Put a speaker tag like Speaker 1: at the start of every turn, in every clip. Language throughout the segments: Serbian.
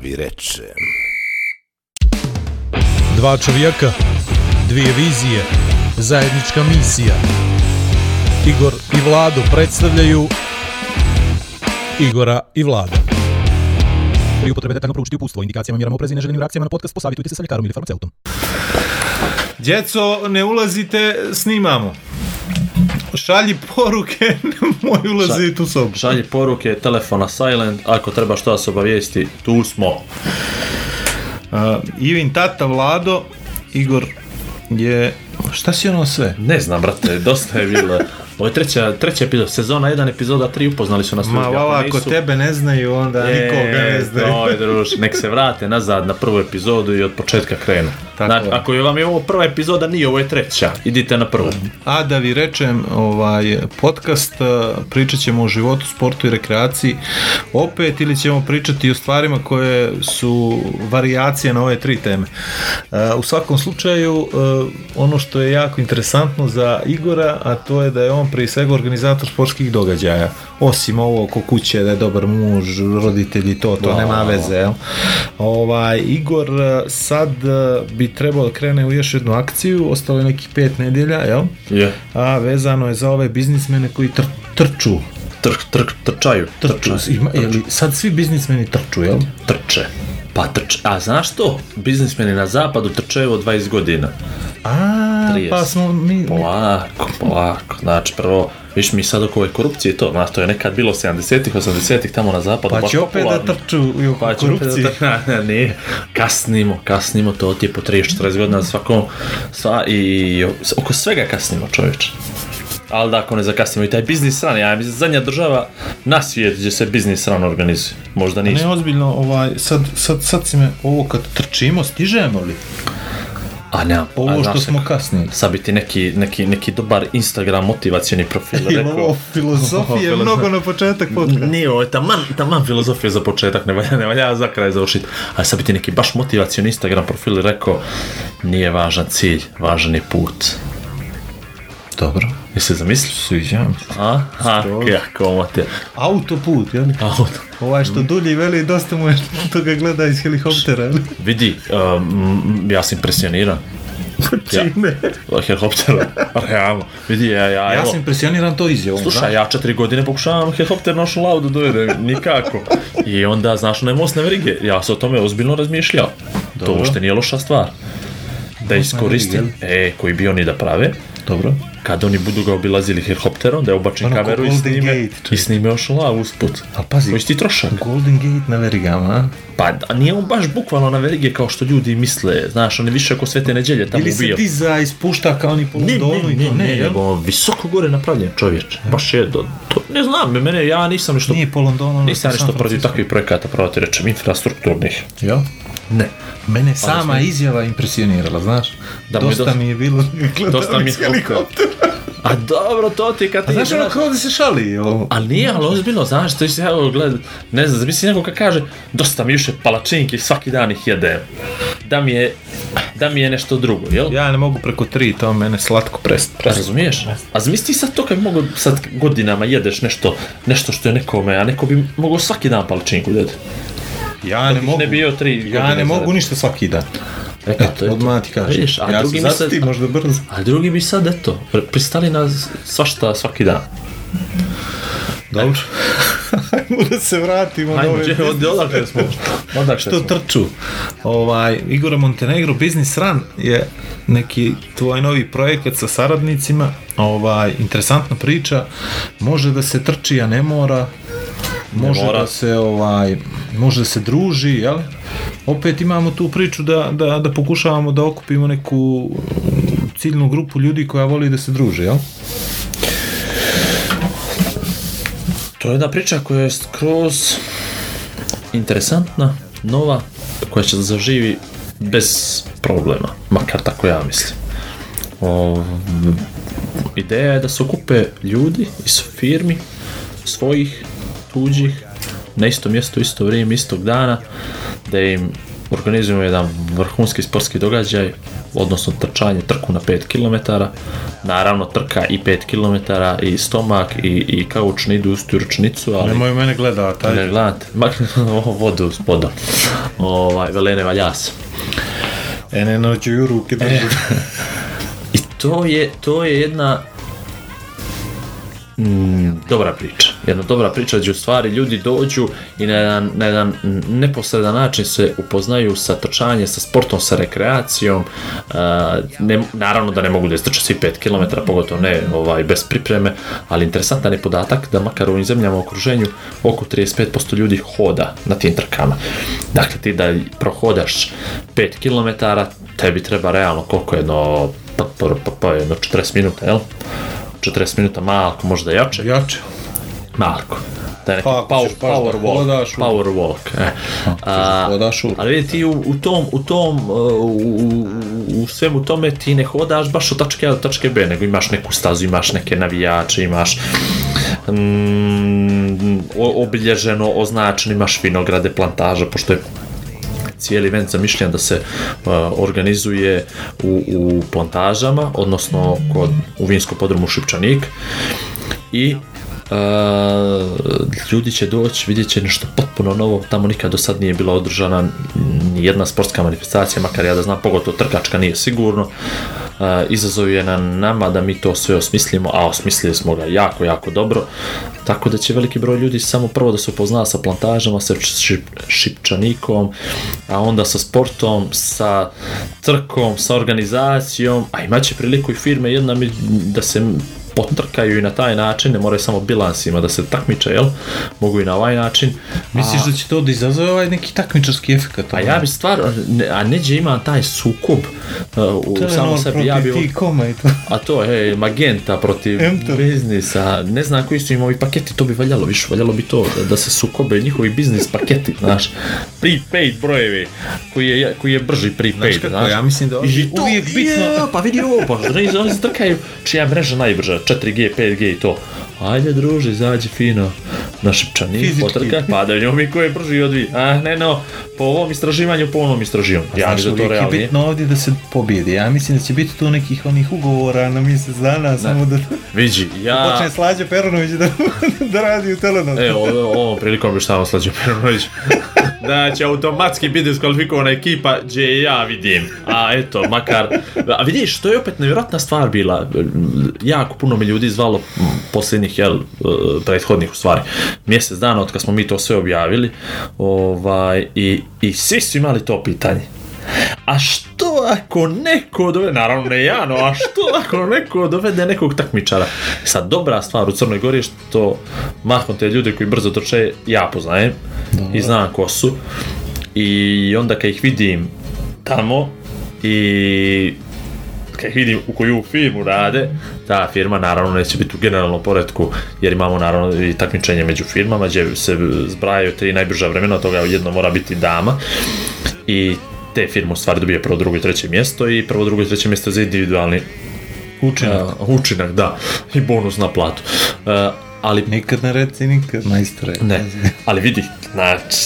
Speaker 1: vi reče.
Speaker 2: Dva čovjeka, dvije vizije, zajednička misija. Igor i Vlado predstavljaju Igora i Vlada. Pri upotrebe detaljno proučiti upustvo, indikacijama, mjerama oprezi i neželjenim reakcijama na podcast, posavitujte se sa ljekarom ili farmaceutom.
Speaker 3: Djeco, ne ulazite, snimamo. Šalji poruke, nemoj ulaziti u sobu.
Speaker 4: Šalji poruke, telefona silent, ako treba što se obavijesti, tu smo.
Speaker 3: A, Ivin tata Vlado, Igor je... Šta si ono sve?
Speaker 4: Ne znam, brate, dosta je bilo. Ovo je treća, treća epizoda, sezona 1, epizoda 3, upoznali su nas
Speaker 3: Ma
Speaker 4: ljudi,
Speaker 3: vala, ako
Speaker 4: nisu-
Speaker 3: tebe ne znaju, onda
Speaker 4: E,
Speaker 3: nikoga ne znaju.
Speaker 4: oj, druž, nek se vrate nazad na prvu epizodu i od početka krenu.
Speaker 3: Tako
Speaker 4: znači,
Speaker 3: je.
Speaker 4: ako je vam je ovo prva epizoda, nije, ovo je treća. Idite na prvu.
Speaker 3: A da vi rečem, ovaj podcast eh, pričat ćemo o životu, sportu i rekreaciji opet ili ćemo pričati o stvarima koje su varijacije na ove tri teme. Eh, U svakom slučaju, eh, ono što je jako interesantno za Igora, a to je da je on prije svega organizator sportskih događaja. Osim ovo oko kuće, da je dobar muž, roditelji, to, to nema veze. Jel? Ovaj, Igor eh, sad eh, bi trebao da krene u još jednu akciju, ostalo je nekih pet nedjelja, jel?
Speaker 4: Je.
Speaker 3: A vezano je za ove biznismene koji tr- trču.
Speaker 4: Trk, trk, trčaju.
Speaker 3: Trču. Ima, jeli, sad svi biznismeni trču, jel?
Speaker 4: Trče. Pa trče. A znaš to? Biznismeni na zapadu trčaju od 20 godina.
Speaker 3: A,
Speaker 4: 30.
Speaker 3: pa smo mi... mi-
Speaker 4: Polako, polako. Znači, prvo, viš mi sad oko ove korupcije i to, znaš, to je nekad bilo 70-ih, 80-ih tamo na zapadu.
Speaker 3: Pa
Speaker 4: baš
Speaker 3: će opet da
Speaker 4: popularno.
Speaker 3: trču i oko
Speaker 4: Pa će opet
Speaker 3: korupcije.
Speaker 4: da trču, nije. Kasnimo, kasnimo, to ti je po 30-40 godina svakom, sva, i oko svega kasnimo, čovječe. Ali da ako ne zakasnimo i taj biznis ran, ja mislim, zadnja država na svijetu gdje se biznis ran organizuje. Možda
Speaker 3: Ne,
Speaker 4: nismo.
Speaker 3: ozbiljno, ovaj, sad, sad, sad si me, ovo kad trčimo, stižemo li? Pa
Speaker 4: A ne,
Speaker 3: Ovo što smo kasnili.
Speaker 4: Sad bi ti neki, neki, neki dobar Instagram motivacioni profil
Speaker 3: Ili
Speaker 4: rekao.
Speaker 3: ovo filozofije
Speaker 4: Ovo
Speaker 3: mnogo na početak podcasta.
Speaker 4: Nije, ovo je taman, taman filozofija za početak, ne valja, ne valja za kraj završiti. A sad bi ti neki baš motivacioni Instagram profil rekao, nije važan cilj, važan je put.
Speaker 3: Dobro.
Speaker 4: Jesi se zamislio?
Speaker 3: Sviđa mi se.
Speaker 4: A? A, kako ovo ti je. ono,
Speaker 3: Autoput, jel?
Speaker 4: Auto.
Speaker 3: Ovaj
Speaker 4: Mm.
Speaker 3: što dulji veli, dosta mu je što ga gleda iz helikoptera, jel?
Speaker 4: Vidi, um, ja sam impresioniran.
Speaker 3: Čime?
Speaker 4: Helikoptera, realno. Vidi, ja, ja,
Speaker 3: Ja
Speaker 4: evo.
Speaker 3: sam impresioniran to izjavom.
Speaker 4: Slušaj, ja četiri godine pokušavam helikopter nošu lavu da dovedem, nikako. I onda, znaš, onaj most na verige, ja sam o tome ozbiljno razmišljao. To uopšte nije loša stvar. Da iskoristim, e, koji bi oni da prave,
Speaker 3: Dobro.
Speaker 4: kad oni budu ga obilazili helikopterom, da je obačem
Speaker 3: Ono ko
Speaker 4: kameru i
Speaker 3: Golden
Speaker 4: snime,
Speaker 3: Gate, čovječe.
Speaker 4: i snime još lavu usput.
Speaker 3: Ali pazi-
Speaker 4: Koji si ti trošak?
Speaker 3: Golden Gate na verigama, a?
Speaker 4: Pa da, nije on baš bukvalno na verige kao što ljudi misle, znaš, on je više oko svete neđelje tamo
Speaker 3: Ili se
Speaker 4: ubio.
Speaker 3: diza i spušta kao oni po Londonu i to ne, jel?
Speaker 4: nego on visoko gore napravljen čovječ. Baš je, do, to, ne znam, mene, ja nisam ništa
Speaker 3: Nije po Londonu, ono
Speaker 4: Nisam
Speaker 3: po San
Speaker 4: nešto protiv
Speaker 3: Francisco.
Speaker 4: takvih projekata, pravo ti rečem, infrastrukturnih.
Speaker 3: Jel?
Speaker 4: Ne.
Speaker 3: Mene sama izjava impresionirala, znaš?
Speaker 4: Da, mi je
Speaker 3: dosta
Speaker 4: dosta-
Speaker 3: mi je bilo
Speaker 4: Dosta mi je helikopter. A dobro, to ti kad ti...
Speaker 3: Znaš ono kao da se šali, ovo?
Speaker 4: A nije, ali ozbiljno, znaš, to si ja gled, ne znam, zamisli neko kad kaže, dosta mi više palačinki, svaki dan ih jedem. Da mi je, da mi je nešto drugo, jel?
Speaker 3: Ja ne mogu preko tri, to mene slatko prest.
Speaker 4: Pa razumiješ? A zamisli ti sad to kad bi mogo sad godinama jedeš nešto, nešto što je nekome, a neko bi mogao svaki dan palačinku jede.
Speaker 3: Ja ne
Speaker 4: ih
Speaker 3: mogu.
Speaker 4: ne bio tri
Speaker 3: Ja
Speaker 4: godine
Speaker 3: ne
Speaker 4: za
Speaker 3: mogu
Speaker 4: redom.
Speaker 3: ništa svaki dan.
Speaker 4: E, pa to je to.
Speaker 3: Odmah ti kažem.
Speaker 4: Vidiš, a
Speaker 3: ja
Speaker 4: drugi
Speaker 3: sam
Speaker 4: misle-
Speaker 3: zastati možda brzo.
Speaker 4: A drugi bi sad, eto, pristali na svašta svaki dan.
Speaker 3: Dobro. Ajmo da se vratimo na
Speaker 4: Ajmo,
Speaker 3: ove
Speaker 4: če,
Speaker 3: biznis-
Speaker 4: od, odakle smo? Odakle
Speaker 3: što
Speaker 4: smo?
Speaker 3: trču. Ovaj, Igora Montenegro Business Run je neki tvoj novi projekat sa saradnicima. Ovaj, interesantna priča. Može da se trči, a ne mora. Može
Speaker 4: mora.
Speaker 3: da se ovaj može da se druži, jel? Opet imamo tu priču da, da, da pokušavamo da okupimo neku mm, ciljnu grupu ljudi koja voli da se druži, jel?
Speaker 4: To je jedna priča koja je skroz interesantna, nova, koja će da zaživi bez problema, makar tako ja mislim. O, ideja je da se okupe ljudi iz firmi, svojih, tuđih, na isto mjesto, isto vrijeme, istog dana, da im organizujemo jedan vrhunski sportski događaj odnosno trčanje, trku na 5 km. Naravno, trka i 5 km, i stomak, i, i kaučni idu u istu ručnicu, ali...
Speaker 3: Nemoj mene gledat,
Speaker 4: Ne
Speaker 3: ajde.
Speaker 4: gledate, makne ovo vodu s podom. Ovaj, velene valja se.
Speaker 3: E, ne noću ju ruke držati.
Speaker 4: E. I to je, to je jedna mm, dobra priča. Jedna dobra priča gdje u stvari ljudi dođu i na jedan, na jedan neposredan način se upoznaju sa trčanjem, sa sportom, sa rekreacijom. E, ne, naravno da ne mogu da istrče svi 5 km, pogotovo ne ovaj, bez pripreme, ali interesantan je podatak da makar u ovim zemljama u okruženju oko 35% ljudi hoda na tim trkama. Dakle, ti da prohodaš 5 km, tebi treba realno koliko jedno pa, pa, pa, pa jedno 40 minuta, jel? 40 minuta malko, možda jače.
Speaker 3: Jače.
Speaker 4: Malko. Da je neki
Speaker 3: Pa, ako ćeš
Speaker 4: power,
Speaker 3: baš da
Speaker 4: power walk.
Speaker 3: hodaš u-
Speaker 4: Power walk. E. A,
Speaker 3: hodaš u-
Speaker 4: ali vidi ti u, u tom, u tom, e, u, u, u svemu tome ti ne hodaš baš od tačke A do tačke B, nego imaš neku stazu, imaš neke navijače, imaš mm, o- obilježeno, označeno, imaš vinograde, plantaže, pošto je cijeli event zamišljen da se uh, organizuje u, u plantažama, odnosno kod, u vinskom podrumu Šipčanik i uh, ljudi će doći, vidjet će nešto potpuno novo, tamo nikad do sad nije bila održana ni jedna sportska manifestacija, makar ja da znam, pogotovo trkačka nije sigurno. Uh, izazov je na nama da mi to sve osmislimo, a osmislili smo ga jako, jako dobro, tako da će veliki broj ljudi samo prvo da se upozna sa plantažama, sa šip, šipčanikom, a onda sa sportom, sa trkom, sa organizacijom, a imat će priliku i firme jedna mi- da se potrkaju i na taj način, ne moraju samo bilansima da se takmiče, jel? Mogu i na ovaj način.
Speaker 3: Misliš da će to da izazove ovaj neki takmičarski efekt?
Speaker 4: A ja bi stvar, ne- a neđe ima taj sukob uh, u
Speaker 3: ono
Speaker 4: samom sebi, ja bi,
Speaker 3: Ti koma i to.
Speaker 4: a to je Magenta protiv
Speaker 3: Emto.
Speaker 4: biznisa, ne znam koji su im ovi paketi, to bi valjalo više, valjalo bi to da, da se sukobe njihovi biznis paketi, znaš, prepaid brojevi, koji je, koji je brži prepaid,
Speaker 3: Znaš
Speaker 4: znaš.
Speaker 3: kako, ja mislim da
Speaker 4: I to,
Speaker 3: uvijek bitno-
Speaker 4: Je, pa vidi ovo,
Speaker 3: па.
Speaker 4: pa oni oni trkaju, čija je mreža najbrža, 4G, 5G i to. Ajde druže, izađi fino na šipčani,
Speaker 3: Fizički.
Speaker 4: potrkaj, pa da vidimo mi ko je brži od vi. A ne no, po ovom istraživanju, po onom istraživanju. Ja
Speaker 3: Znaš,
Speaker 4: mislim da to
Speaker 3: uvijek je
Speaker 4: realnije.
Speaker 3: bitno ovdje da se pobjedi. Ja mislim da će biti tu nekih onih ugovora na mjesec dana, samo da
Speaker 4: Viđi, ja...
Speaker 3: počne Slađe Perunović da, da radi u telenu.
Speaker 4: E, ovo, ovom prilikom bi šta vam slađe Perunović. da će automatski biti diskvalifikovana ekipa gdje je ja vidim. A eto, makar... A vidiš, to je opet nevjerojatna stvar bila. Jako puno me ljudi zvalo m, posljednjih, jel, e, prethodnih u stvari, mjesec dana od kad smo mi to sve objavili. Ovaj, i, I svi su imali to pitanje. A što ako neko dovede, naravno ne ja, no a što ako neko dovede nekog takmičara? Sad, dobra stvar u Crnoj Gori je što mahom te ljude koji brzo trče ja poznajem i znam ko su. I onda kad ih vidim tamo i kad ih vidim u koju firmu rade, ta firma naravno neće biti u generalnom poredku, jer imamo naravno i takmičenje među firmama gdje se zbrajaju tri najbrža vremena, od toga jedno mora biti dama i te firme u stvari dobije prvo, drugo i treće mjesto i prvo, drugo i treće mjesto za individualni
Speaker 3: Učinak.
Speaker 4: uh, učinak, da, i bonus na platu. Uh, ali
Speaker 3: Nikad ne reci nikad, majstore.
Speaker 4: ne, ali vidi, znači,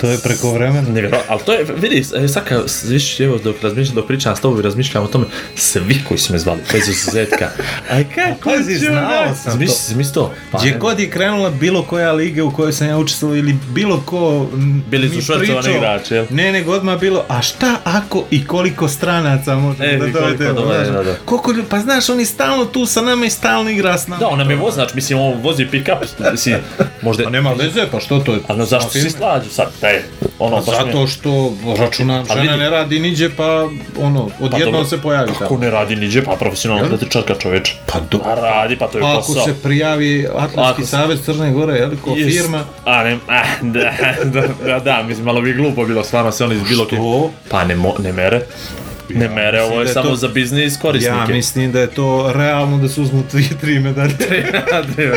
Speaker 3: To je preko vremena.
Speaker 4: nevjero, ali to je, vidi, e, sad kad s- više, evo, dok razmišljam, dok pričam s tobom i razmišljam o tome, svi koji su me zvali, bez izuzetka, a kako
Speaker 3: pazi,
Speaker 4: ću
Speaker 3: znao
Speaker 4: ja-
Speaker 3: sam
Speaker 4: Zamisli-
Speaker 3: to.
Speaker 4: zamisli to. Pa,
Speaker 3: Gdje god je krenula bilo koja liga u kojoj sam ja učestvovao ili bilo ko m,
Speaker 4: Bili su
Speaker 3: mi
Speaker 4: švercovani
Speaker 3: pričao,
Speaker 4: igrači, jel?
Speaker 3: Ne, nego odmah bilo, a šta ako i koliko stranaca možemo da
Speaker 4: E, i koliko
Speaker 3: dovedemo,
Speaker 4: dovede,
Speaker 3: znaš?
Speaker 4: da, da.
Speaker 3: Koliko ljudi, pa znaš, oni stalno tu sa nama i stalno igra s nama.
Speaker 4: Da, on nam je vozač, mislim, on vozi pick-up, mislim, možda...
Speaker 3: Pa nema veze, pa što to je?
Speaker 4: Ali no, zašto si slađu sad? Ej, ono, baš mi je-
Speaker 3: Zato što računam,
Speaker 4: Pa
Speaker 3: žena
Speaker 4: vidi.
Speaker 3: ne radi niđe, pa ono, odjednom
Speaker 4: dobro.
Speaker 3: se pojavi
Speaker 4: Kako
Speaker 3: tamo.
Speaker 4: ne radi niđe, pa profesionalno
Speaker 3: Jel?
Speaker 4: atletičarka čoveč.
Speaker 3: Pa do...
Speaker 4: Pa radi, pa to je
Speaker 3: Ako
Speaker 4: posao.
Speaker 3: se prijavi Atletski
Speaker 4: Ako se-
Speaker 3: savez Crne Gore, je li, ko
Speaker 4: Jest.
Speaker 3: firma,
Speaker 4: A ne, a, da, da, da, da, mislim, malo bi glupo bilo, stvarno se oni iz bilo kje.
Speaker 3: Što?
Speaker 4: Pa ne, mo, ne mere. Ne mere, ovo
Speaker 3: mislim
Speaker 4: je
Speaker 3: da je
Speaker 4: samo
Speaker 3: to-
Speaker 4: za biznis
Speaker 3: Ja
Speaker 4: korisnike.
Speaker 3: mislim da je to realno da se uzmu dvije, tri medalje.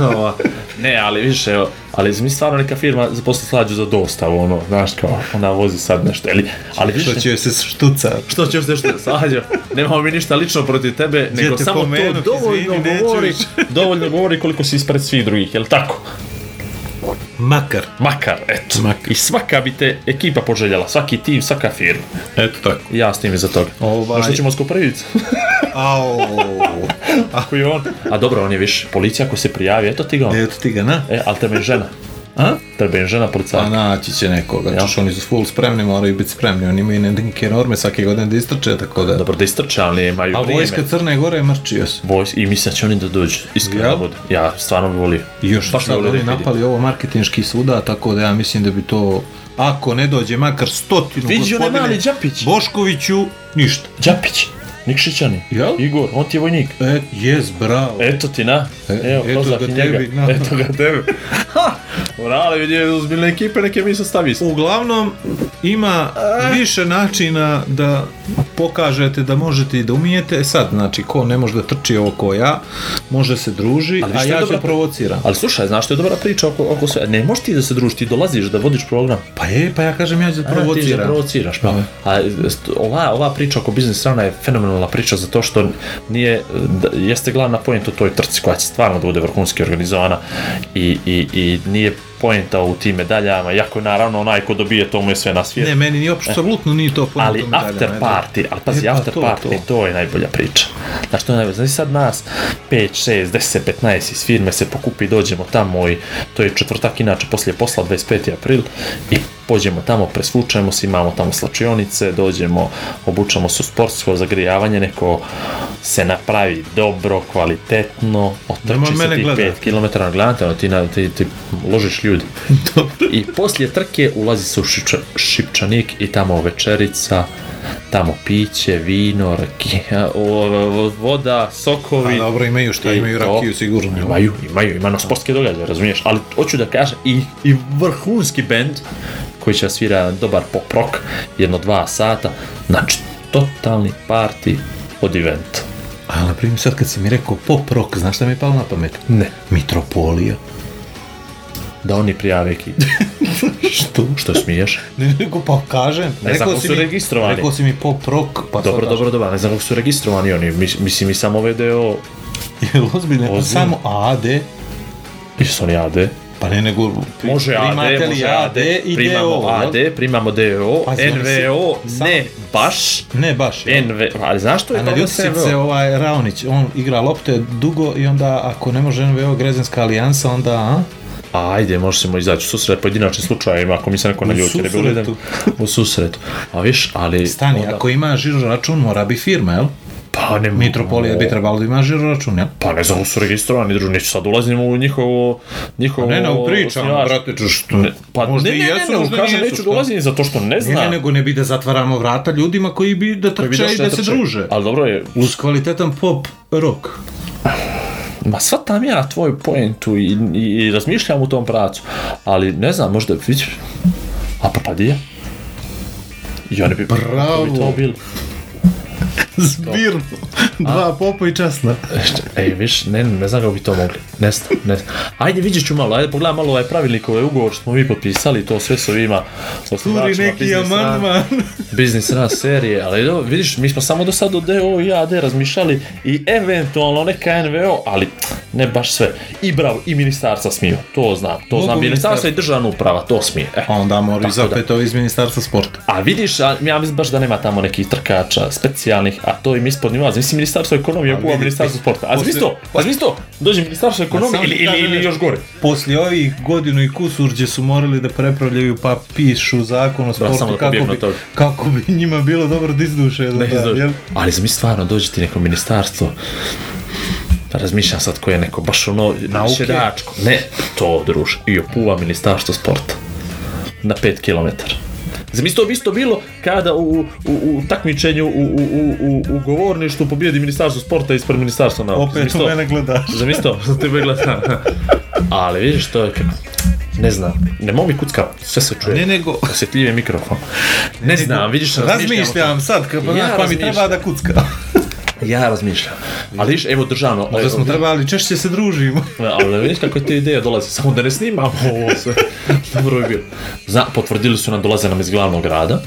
Speaker 4: Ova, ne, ali više, evo, ali mi stvarno neka firma zaposli slađu za dostavu, ono, znaš kao, ona vozi sad nešto, ali, ali više...
Speaker 3: Što će joj se štucati.
Speaker 4: Što ćeš se što slađo? Nemamo mi ništa lično protiv tebe, nego
Speaker 3: te
Speaker 4: samo to
Speaker 3: pomenut,
Speaker 4: dovoljno
Speaker 3: izvini, neću
Speaker 4: govori,
Speaker 3: više.
Speaker 4: dovoljno govori koliko si ispred svih drugih, jel tako?
Speaker 3: Makar.
Speaker 4: Makar, eto.
Speaker 3: Makar.
Speaker 4: I svaka bi te ekipa poželjela, svaki tim, svaka firma.
Speaker 3: Eto tako.
Speaker 4: Ja s tim iza toga.
Speaker 3: Ovaj-
Speaker 4: Možda ćemo skoprivit.
Speaker 3: Au.
Speaker 4: Ako je on. A dobro, on je više policija ako se prijavi, eto ti ga on.
Speaker 3: Eto ti ga, na.
Speaker 4: E, ali treba im žena.
Speaker 3: A?
Speaker 4: Treba im žena
Speaker 3: Pa
Speaker 4: policajka.
Speaker 3: naći će nekoga, ja. čuš, oni su full spremni, moraju biti spremni, oni imaju neke norme svake godine da istrče, tako da...
Speaker 4: Dobro, da istrče, ali imaju
Speaker 3: A
Speaker 4: vrijeme.
Speaker 3: vojska Crne Gore je mrčio se.
Speaker 4: Vojs, i mislim da će oni da dođu, iskreno
Speaker 3: Ja?
Speaker 4: da bude. Ja stvarno bi volio.
Speaker 3: I još
Speaker 4: Baš
Speaker 3: Baš
Speaker 4: bi
Speaker 3: sad
Speaker 4: volio da
Speaker 3: oni
Speaker 4: ih vidim.
Speaker 3: napali ovo marketinški suda, tako da ja mislim da bi to... Ako ne dođe makar stotinu
Speaker 4: Vidi onaj
Speaker 3: gospodine
Speaker 4: mali Đapić.
Speaker 3: Boškoviću, ništa.
Speaker 4: Đapić, Nikšićani,
Speaker 3: Jel?
Speaker 4: Igor, on ti je vojnik.
Speaker 3: E, jes, bravo.
Speaker 4: Eto ti na,
Speaker 3: E,
Speaker 4: evo,
Speaker 3: eto
Speaker 4: proznak
Speaker 3: ga
Speaker 4: i njega.
Speaker 3: tebi, na.
Speaker 4: Eto ga tebe. Morale vidio, uzbiljne ekipe, neke mi se stavi.
Speaker 3: Uglavnom, ima više načina da pokažete da možete i da umijete. E Sad, znači, ko ne može da trči ovo ko ja, može se druži,
Speaker 4: Ali
Speaker 3: a
Speaker 4: što je
Speaker 3: ja
Speaker 4: dobra-
Speaker 3: ću provociram.
Speaker 4: Ali slušaj, znaš što je dobra priča oko, oko sve, ne možeš ti da se družiš, ti dolaziš da vodiš program.
Speaker 3: Pa je, pa ja kažem ja ću da
Speaker 4: A, ti da
Speaker 3: provociram.
Speaker 4: provociraš, pa. A, st- ova, ova priča oko biznis strana je fenomenalna priča zato što nije, d- jeste glavna pojenta u toj trci koja će stvarno da bude vrhunski organizovana i, i, i nije pojenta u tim medaljama, jako naravno onaj ko dobije to mu je sve na svijetu.
Speaker 3: Ne, meni ni uopšte apsolutno nije to ponuto
Speaker 4: ali after party, ali pazi,
Speaker 3: E, pa
Speaker 4: after
Speaker 3: to,
Speaker 4: party, to.
Speaker 3: to.
Speaker 4: je najbolja priča. Znaš, to je najbolja, znaš sad nas, 5, 6, 10, 15 iz firme se pokupi, dođemo tamo i to je četvrtak, inače, poslije posla, 25. april, i pođemo tamo, presvučajemo se, imamo tamo slačionice, dođemo, obučamo se u sportsko zagrijavanje, neko se napravi dobro, kvalitetno,
Speaker 3: Nemoj
Speaker 4: otrči se
Speaker 3: mene
Speaker 4: ti
Speaker 3: gledat.
Speaker 4: 5 km na glante, ono, ti, na, ti, ti ložiš ljudi. I poslije trke ulazi se u Šipča, Šipčanik i tamo večerica, tamo piće, vino, rakija, o, o, voda, sokovi.
Speaker 3: A dobro, imaju šta,
Speaker 4: I
Speaker 3: imaju
Speaker 4: to.
Speaker 3: rakiju sigurno. jel?
Speaker 4: Imaju, imaju, ima na sportske događaje, razumiješ? Ali hoću da kažem, i, i vrhunski bend koji će svira dobar pop rock, jedno dva sata, znači totalni party od eventa.
Speaker 3: A na primjer sad kad si mi rekao pop rock, znaš šta mi je palo na pamet?
Speaker 4: Ne.
Speaker 3: Mitropolija.
Speaker 4: Da oni prijave ekipu.
Speaker 3: Što?
Speaker 4: Što smiješ?
Speaker 3: Ne, nego pa kažem.
Speaker 4: Ne znam, su registrovani.
Speaker 3: Rekao si mi pop rock, pa
Speaker 4: Dobro,
Speaker 3: sad-
Speaker 4: dobro, dobro, ne znam kako su registrovani oni, mis- mislim i samo VDO,
Speaker 3: Jel ozbiljno? Pa
Speaker 4: Ozbiljno.
Speaker 3: samo AD.
Speaker 4: nisu oni AD,
Speaker 3: Pa ne, nego... pri-
Speaker 4: Može AD,
Speaker 3: primate li
Speaker 4: može AD,
Speaker 3: i
Speaker 4: primamo
Speaker 3: DO, jel?
Speaker 4: AD, primamo DO,
Speaker 3: Pazi, oni se-
Speaker 4: NVO,
Speaker 3: sam-
Speaker 4: ne baš,
Speaker 3: Ne, baš. jel?
Speaker 4: NV, ali znaš što je problem s
Speaker 3: Analjusiv se
Speaker 4: NVO?
Speaker 3: ovaj Raonić, on igra lopte dugo i onda ako ne može NVO Grezinska alijansa, onda... A?
Speaker 4: Ajde, možemo izaći u susret pojedinačnim slučajevima, ako mi se neko ne ljuti, ne bi
Speaker 3: susretu.
Speaker 4: ulidan u susretu. A viš, ali...
Speaker 3: Stani,
Speaker 4: onda-
Speaker 3: ako ima žiro račun, mora bi firma, jel?
Speaker 4: Pa ne...
Speaker 3: Mitropolija bi trebalo da ima žiro račun, jel?
Speaker 4: Pa ne znam, kako su registrovani, druži, neću sad ulazim u njihovo... njihovo
Speaker 3: Ne, ne, pričam,
Speaker 4: osnivač.
Speaker 3: brate, ču što...
Speaker 4: Ne, pa
Speaker 3: možda
Speaker 4: ne,
Speaker 3: i
Speaker 4: ne,
Speaker 3: jesu,
Speaker 4: ne, ne,
Speaker 3: možda
Speaker 4: kažem,
Speaker 3: nisu,
Speaker 4: neću
Speaker 3: šta?
Speaker 4: da ulazim zato što ne
Speaker 3: Ne, ne,
Speaker 4: znam.
Speaker 3: nego ne bi da zatvaramo vrata ljudima koji bi da
Speaker 4: Koji bi
Speaker 3: trče i
Speaker 4: došli
Speaker 3: da se
Speaker 4: trče.
Speaker 3: druže.
Speaker 4: Ali dobro je,
Speaker 3: Uz kvalitetan pop rock.
Speaker 4: Ma shvatam ja tvoju poentu i, i, i razmišljam u tom pracu, ali ne znam, možda vidiš, a pa, papadija? I oni bi,
Speaker 3: Bravo.
Speaker 4: kako bi to bil.
Speaker 3: Zbirno. Dva popa i časna.
Speaker 4: Znači, Ej, E, viš, ne, ne znam kako bi to mogli, ne znam, ne znam. Ajde, vidjet ću malo, ajde pogledam malo ovaj pravilnik, ovaj ugovor što smo vi potpisali, to sve s ovima
Speaker 3: Turi
Speaker 4: osnivačima,
Speaker 3: neki
Speaker 4: biznis run,
Speaker 3: amandman.
Speaker 4: biznis run serije, ali evo, vidiš, mi smo samo do sad o DO i AD razmišljali i eventualno neka NVO, ali ne baš sve. I bravo, i ministarstva smiju, to znam, to
Speaker 3: Mogu
Speaker 4: znam, ministarstva
Speaker 3: ministarstva.
Speaker 4: i državna uprava, to smije. E,
Speaker 3: A Pa onda mora
Speaker 4: Tako da.
Speaker 3: zapet ovo iz ministarstva sporta.
Speaker 4: A vidiš, a, ja mislim baš da nema tamo nekih trkača specijalnih, a to im ispod nivoa. Mislim ministarstvo ekonomije,
Speaker 3: vidi,
Speaker 4: kuva ministarstvo sporta. A zamisli to, a zamisli to, dođe ministarstvo ekonomije
Speaker 3: samo
Speaker 4: ili,
Speaker 3: ti
Speaker 4: ili,
Speaker 3: kažem
Speaker 4: ili
Speaker 3: nešto.
Speaker 4: još gore.
Speaker 3: Poslije ovih godinu i kusur gdje su morali da prepravljaju pa pišu zakon o
Speaker 4: samo
Speaker 3: sportu
Speaker 4: da
Speaker 3: kako,
Speaker 4: pobjegnu od
Speaker 3: bi,
Speaker 4: toga.
Speaker 3: kako bi njima bilo dobro da izduše. Da, da, jel?
Speaker 4: Ali zamisli stvarno, dođe ti neko ministarstvo, Pa razmišljam sad ko je neko, baš ono,
Speaker 3: Nauke?
Speaker 4: širačko. Ne, to druž, i opuva ministarstvo sporta. Na 5 km. Zamisli to bi isto bilo kada u, u, u takmičenju u, u, u, u, u govorništu pobjedi ministarstvo sporta ispred ministarstva nauke.
Speaker 3: Opet
Speaker 4: Zamisli
Speaker 3: u
Speaker 4: to.
Speaker 3: mene gledaš.
Speaker 4: Zamislio, sam tebe gledam. Ali vidiš to je kako... Ne znam, ne mogu mi kucka, sve se čuje.
Speaker 3: Ne nego,
Speaker 4: Osjetljiv je mikrofon. Ne znam, vidiš,
Speaker 3: razmišljam sad, kad,
Speaker 4: Ja
Speaker 3: ja pa mi
Speaker 4: razmišljam.
Speaker 3: treba da kucka.
Speaker 4: Ja razmišljam. Ali vidiš, evo državno.
Speaker 3: Da
Speaker 4: evo,
Speaker 3: smo trebali, češće se družimo.
Speaker 4: Ali vidiš kako ti ideja dolazi, samo da ne snimamo ovo sve. Dobro bi bilo. Zna, potvrdili su nam, dolaze nam iz glavnog grada.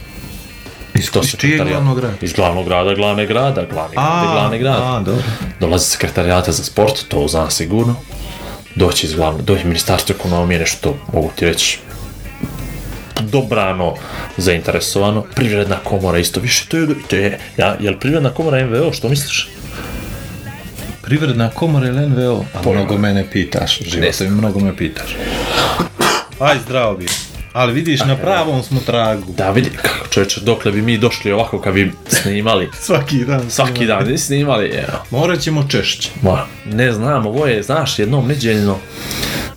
Speaker 4: Iz, to
Speaker 3: iz čijeg
Speaker 4: sekretarijat-
Speaker 3: glavnog grada?
Speaker 4: Iz glavnog grada, glavne grada, glavni grada, glavni grada.
Speaker 3: a, dobro.
Speaker 4: Dolazi sekretarijata za sport, to znam sigurno. doći iz glavne, doći ministarstvo ekonomije, nešto mogu ti reći dobrano zainteresovano, privredna komora isto više, to je, to je, ja, jel privredna komora MVO, što misliš?
Speaker 3: Privredna komora ili NVO? A
Speaker 4: Pojma.
Speaker 3: mnogo mene pitaš, živote, mnogo me pitaš. Aj, zdravo bi. Ali vidiš, na pravom smo tragu.
Speaker 4: Da vidi, kako čovječe, dokle bi mi došli ovako kad bi snimali,
Speaker 3: Svaki dan.
Speaker 4: svaki dan bi snimali, evo.
Speaker 3: Morat ćemo češće.
Speaker 4: Ma, ne znam, ovo je, znaš, jednom neđeljno,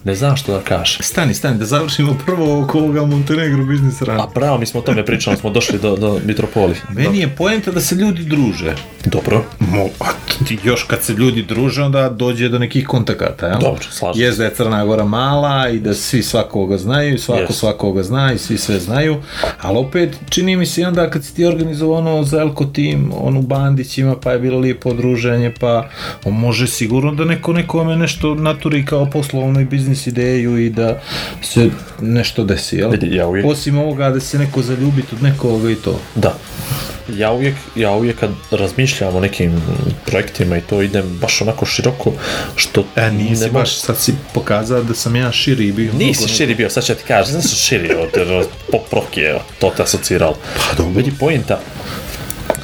Speaker 4: ne znam što da kažem.
Speaker 3: Stani, stani, da završimo prvo oko ovoga Montenegro biznis
Speaker 4: A
Speaker 3: rana.
Speaker 4: pravo mi smo o tome pričali, smo došli do, do Mitropoli.
Speaker 3: Meni je poenta da se ljudi druže.
Speaker 4: Dobro.
Speaker 3: Pa, Mo, a ti još kad se ljudi druže, onda dođe do nekih kontakata, jel?
Speaker 4: Dobro, slažem
Speaker 3: Jest da je Crna Gora mala i da svi svakoga znaju, i svako
Speaker 4: Jest.
Speaker 3: svakoga zna i svi sve znaju, ali opet čini mi se i onda kad si ti organizovao ono Zelko tim, onu Bandićima, pa je bilo lijepo druženje, pa on može sigurno da neko nekome nešto naturi kao poslovnu i biznis ideju i da se nešto desi, jel?
Speaker 4: Vidi, ja uvijek-
Speaker 3: Osim ovoga da se neko zaljubi od nekoga i to.
Speaker 4: Da. Ja uvijek, ja uvijek kad razmišljam o nekim projektima i to idem baš onako široko, što...
Speaker 3: E, nisi
Speaker 4: ne
Speaker 3: baš, sad si pokazao da sam ja širi bio.
Speaker 4: Nisi širi bio, sad ću ja ti kažem, znaš širi od, od pop rock je, to te asociralo. Pa dobro. Vidi pojenta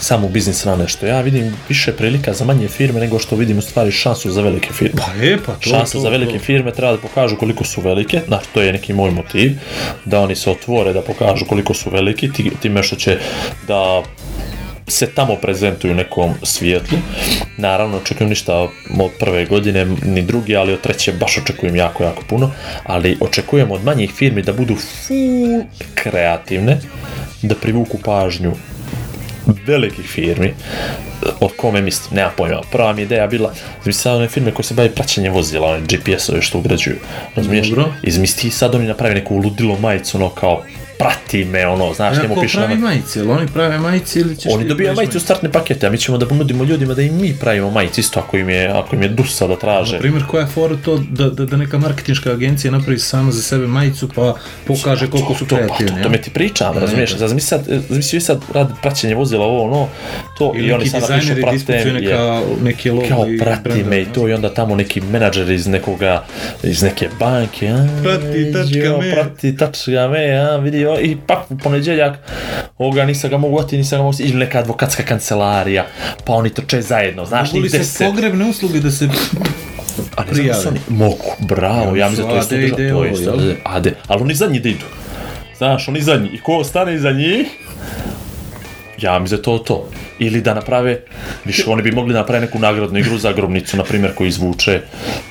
Speaker 4: samo biznis strane, što ja vidim više prilika za manje firme nego što vidim u stvari šansu za velike firme.
Speaker 3: Pa e, pa to,
Speaker 4: Šansa
Speaker 3: to,
Speaker 4: za velike
Speaker 3: to.
Speaker 4: firme treba da pokažu koliko su velike, znači to je neki moj motiv, da oni se otvore, da pokažu koliko su veliki, ti- time što će da se tamo prezentuju u nekom svijetlu. Naravno, očekujem ništa od prve godine, ni druge, ali od treće baš očekujem jako, jako puno. Ali očekujem od manjih firmi da budu full kreativne, da privuku pažnju velikih firmi, o kome mislim, nema pojma, prava mi je ideja bila, izmislila one firme koje se bavi praćenjem vozila, one GPS-ove što ugrađuju, razumiješ?
Speaker 3: Dobro.
Speaker 4: Izmisli ti sad oni napravi neku ludilo majicu, ono kao, prati me, ono, znaš, njemu
Speaker 3: Ako
Speaker 4: piše na
Speaker 3: pravi majice, ili oni prave majice ili ćeš...
Speaker 4: Oni
Speaker 3: ti
Speaker 4: dobijaju
Speaker 3: praviš
Speaker 4: majicu u startne pakete, a mi ćemo da nudimo ljudima da i mi pravimo majicu isto ako im je, ako im je dusa da traže.
Speaker 3: Na primjer, koja je fora to da, da, da neka marketinška agencija napravi sama za sebe majicu pa pokaže koliko su
Speaker 4: To, pa,
Speaker 3: kreativni.
Speaker 4: to,
Speaker 3: jel?
Speaker 4: to me ti pričam,
Speaker 3: Da,
Speaker 4: razumiješ,
Speaker 3: da.
Speaker 4: zamisli sad, e, zamisli vi sad radi praćenje vozila, ovo ono, to i,
Speaker 3: Ili
Speaker 4: oni
Speaker 3: neki
Speaker 4: sad napišu
Speaker 3: dizajneri
Speaker 4: prate,
Speaker 3: diskutuju
Speaker 4: me, je,
Speaker 3: neka, neki logo
Speaker 4: kao
Speaker 3: i
Speaker 4: prati
Speaker 3: brenda,
Speaker 4: me i
Speaker 3: jel?
Speaker 4: to i onda tamo neki menadžer iz nekoga, iz neke banke, a,
Speaker 3: Prati, tačka
Speaker 4: jo,
Speaker 3: me.
Speaker 4: prati, tačka me, a, vidi, o, i pa u ponedjeljak, ovoga nisam ga mogu oti, nisam ga mogu, ili neka advokatska kancelarija, pa oni trče zajedno, znaš,
Speaker 3: Mogu
Speaker 4: njih
Speaker 3: li se
Speaker 4: deset,
Speaker 3: pogrebne usluge da se...
Speaker 4: A ne
Speaker 3: prijave.
Speaker 4: znam su oni, mogu, bravo,
Speaker 3: Ja,
Speaker 4: ja mislim da to
Speaker 3: su
Speaker 4: isto
Speaker 3: AD i
Speaker 4: država,
Speaker 3: DO,
Speaker 4: to isto
Speaker 3: jel?
Speaker 4: država, ade, ali oni zadnji da idu. Znaš, oni zadnji, i ko ostane iza njih, ja mislim da je to to. Ili da naprave, više oni bi mogli napraviti neku nagradnu igru za grobnicu, na primjer, koju izvuče,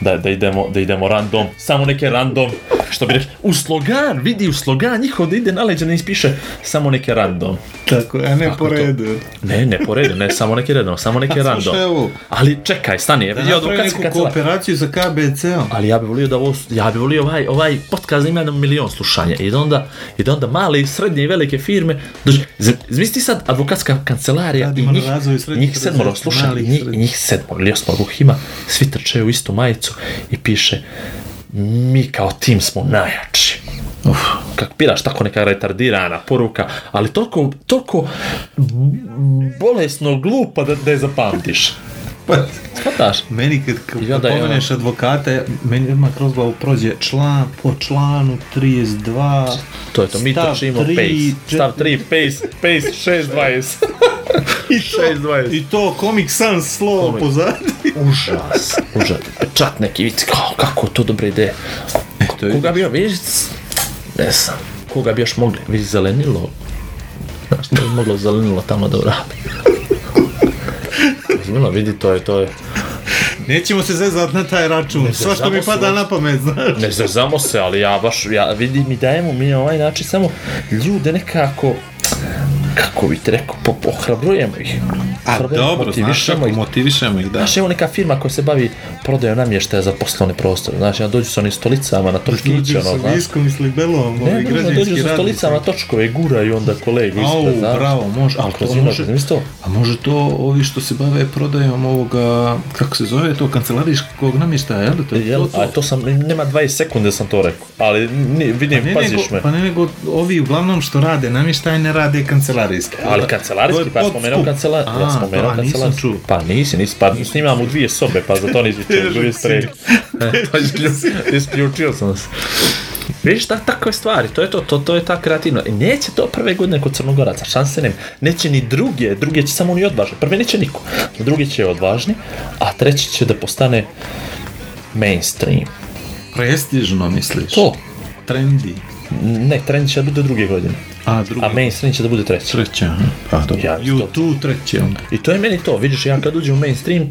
Speaker 4: da, da, idemo, da idemo random, samo neke random, što bi rekli, u slogan, vidi u slogan njihov da ide na leđa, ne ispiše samo neke random.
Speaker 3: Tako, a ne po redu.
Speaker 4: Ne, ne po redu, ne, samo neke random, samo neke
Speaker 3: Slušaj,
Speaker 4: random.
Speaker 3: evo.
Speaker 4: Ali čekaj, stani,
Speaker 3: Da
Speaker 4: da, ja
Speaker 3: napravi
Speaker 4: advokatska
Speaker 3: neku
Speaker 4: kancelarija.
Speaker 3: kooperaciju sa KBC-om.
Speaker 4: Ali ja bih volio da ovo, ja bih volio ovaj, ovaj podcast da ima jedan milion slušanja i da onda, i da onda male i srednje i velike firme, dođe, Z- zamisli sad advokatska kancelarija i
Speaker 3: Radimo na
Speaker 4: njih,
Speaker 3: razvoju srednjih
Speaker 4: njih sedmoro
Speaker 3: preduzeća,
Speaker 4: sluša,
Speaker 3: malih i
Speaker 4: njih,
Speaker 3: srednjih.
Speaker 4: njih sedmoro ili osmoro ih ima, svi trče u istu majicu i piše mi kao tim smo najjači. Uf, kak piraš tako neka retardirana poruka, ali toliko, toliko b- bolesno glupa da, da je zapamtiš.
Speaker 3: Pa,
Speaker 4: Hvataš?
Speaker 3: Meni kad, kad
Speaker 4: I onda je
Speaker 3: pomeneš advokate, meni odmah kroz glavu prođe član po članu 32.
Speaker 4: To je to, mi
Speaker 3: stav
Speaker 4: trčimo
Speaker 3: tri,
Speaker 4: pace.
Speaker 3: čet-
Speaker 4: Stav 3, pace, pace 6.20. I 6.20.
Speaker 3: I to Comic Sans slovo pozadnje.
Speaker 4: Užas, užas. Pečat E, neki, vidi, kao, kako je to dobra ideja.
Speaker 3: E, to je-
Speaker 4: Koga bi još, vidiš, ne znam, koga bi još mogli, vidi, zelenilo. Znaš, što bi moglo zelenilo tamo da uradi. Razumjela, vidi, to je, to je.
Speaker 3: Nećemo se zezat na taj račun. Sva što mi
Speaker 4: zezamo
Speaker 3: pada
Speaker 4: se.
Speaker 3: na pamet, znaš.
Speaker 4: Ne zezamo se, ali ja baš, ja vidim mi dajemo mi na ovaj način samo ljude nekako kako bi ti rekao, po, ohrabrujemo ih. Ohrabrujemo, motivišemo ih.
Speaker 3: motivišemo ih, da.
Speaker 4: Znaš, evo neka firma koja se bavi prodajom namještaja za poslovni prostor. Znaš, ja dođu sa onim stolicama na točkiće,
Speaker 3: Dođu
Speaker 4: ono,
Speaker 3: sa
Speaker 4: znaš.
Speaker 3: viskom i slibelom,
Speaker 4: Ne,
Speaker 3: ovi
Speaker 4: ne, dođu
Speaker 3: građanski
Speaker 4: sa
Speaker 3: radnici.
Speaker 4: stolicama točkove, gura i onda kolegu
Speaker 3: Au,
Speaker 4: ispred, znaš.
Speaker 3: bravo, može, ali to
Speaker 4: Kroz inogu,
Speaker 3: može,
Speaker 4: znaš to?
Speaker 3: a može to ovi što se bave prodajom ovoga, kako se zove to, kancelarijskog namještaja, jel? To, je
Speaker 4: E, Jel,
Speaker 3: to, to.
Speaker 4: a to sam, nema 20 sekunde sam to rekao, ali ni, vidim,
Speaker 3: Pa Ne,
Speaker 4: paziš
Speaker 3: nego,
Speaker 4: me.
Speaker 3: Pa ne nego ovi uglavnom što rade namještaj ne rade kancelarijski.
Speaker 4: Ali kancelarijski, pa ja spomenuo kancelar, ja spomenuo kancelarijski. Pa nisi, nisi, pa snimam u dvije sobe, pa za to nisi čuo, drugi strek. E, pa Isključio sam se. Vidiš, da, takve stvari, to je to, to, to je ta kreativno. E, Neće to prve godine kod Crnogoraca, šanse nema. Neće ni druge, druge će samo oni odvažni. Prve neće niko, druge će odvažni, a treći će da postane mainstream.
Speaker 3: Prestižno, misliš?
Speaker 4: To,
Speaker 3: Trendy.
Speaker 4: ne, trend će da bude druge godine.
Speaker 3: A, drugo.
Speaker 4: A mainstream će da bude treći.
Speaker 3: Treća, aha. Pa, dobro.
Speaker 4: Ja,
Speaker 3: Ju, tu treće onda.
Speaker 4: I to je meni to, vidiš, ja kad uđem u mainstream,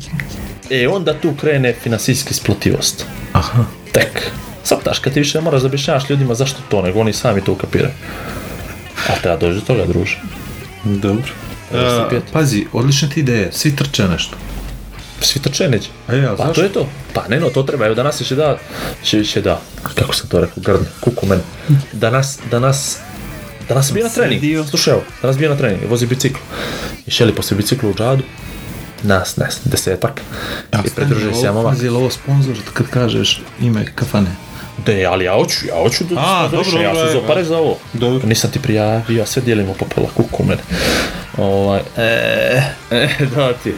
Speaker 4: e, onda tu krene finansijski splativost.
Speaker 3: Aha.
Speaker 4: Tek. Saptaš, kad ti više ne moraš da objašnjavaš ljudima zašto to, nego oni sami to ukapiraju. A treba doći do toga, druže.
Speaker 3: Dobro.
Speaker 4: Jeste
Speaker 3: E,
Speaker 4: pet.
Speaker 3: pazi, odlična ti ideja, svi trče nešto.
Speaker 4: Svi trče neđe.
Speaker 3: E, ja,
Speaker 4: Pa
Speaker 3: zašto?
Speaker 4: to je to. Pa ne no, to treba. Evo danas će da, će, će da, kako sam to rekao, grdno, kuku mene. Danas, danas, danas bio na
Speaker 3: Sredio.
Speaker 4: trening. Slušaj evo, danas bio na trening, vozi biciklu. I šeli posle biciklu u džadu, nas, ne, desetak. I pridružuje se ja momak.
Speaker 3: Pazi, jel ovo sponsor kad kažeš ime kafane.
Speaker 4: Ne, ali ja hoću, ja hoću da
Speaker 3: A,
Speaker 4: sponzorišem,
Speaker 3: dobro,
Speaker 4: ja
Speaker 3: dobro,
Speaker 4: sam
Speaker 3: evo.
Speaker 4: za pare za ovo.
Speaker 3: Dobro.
Speaker 4: Nisam ti prijavio, ja sve dijelimo po pola kuku mene. Ovaj, e, e, da ti.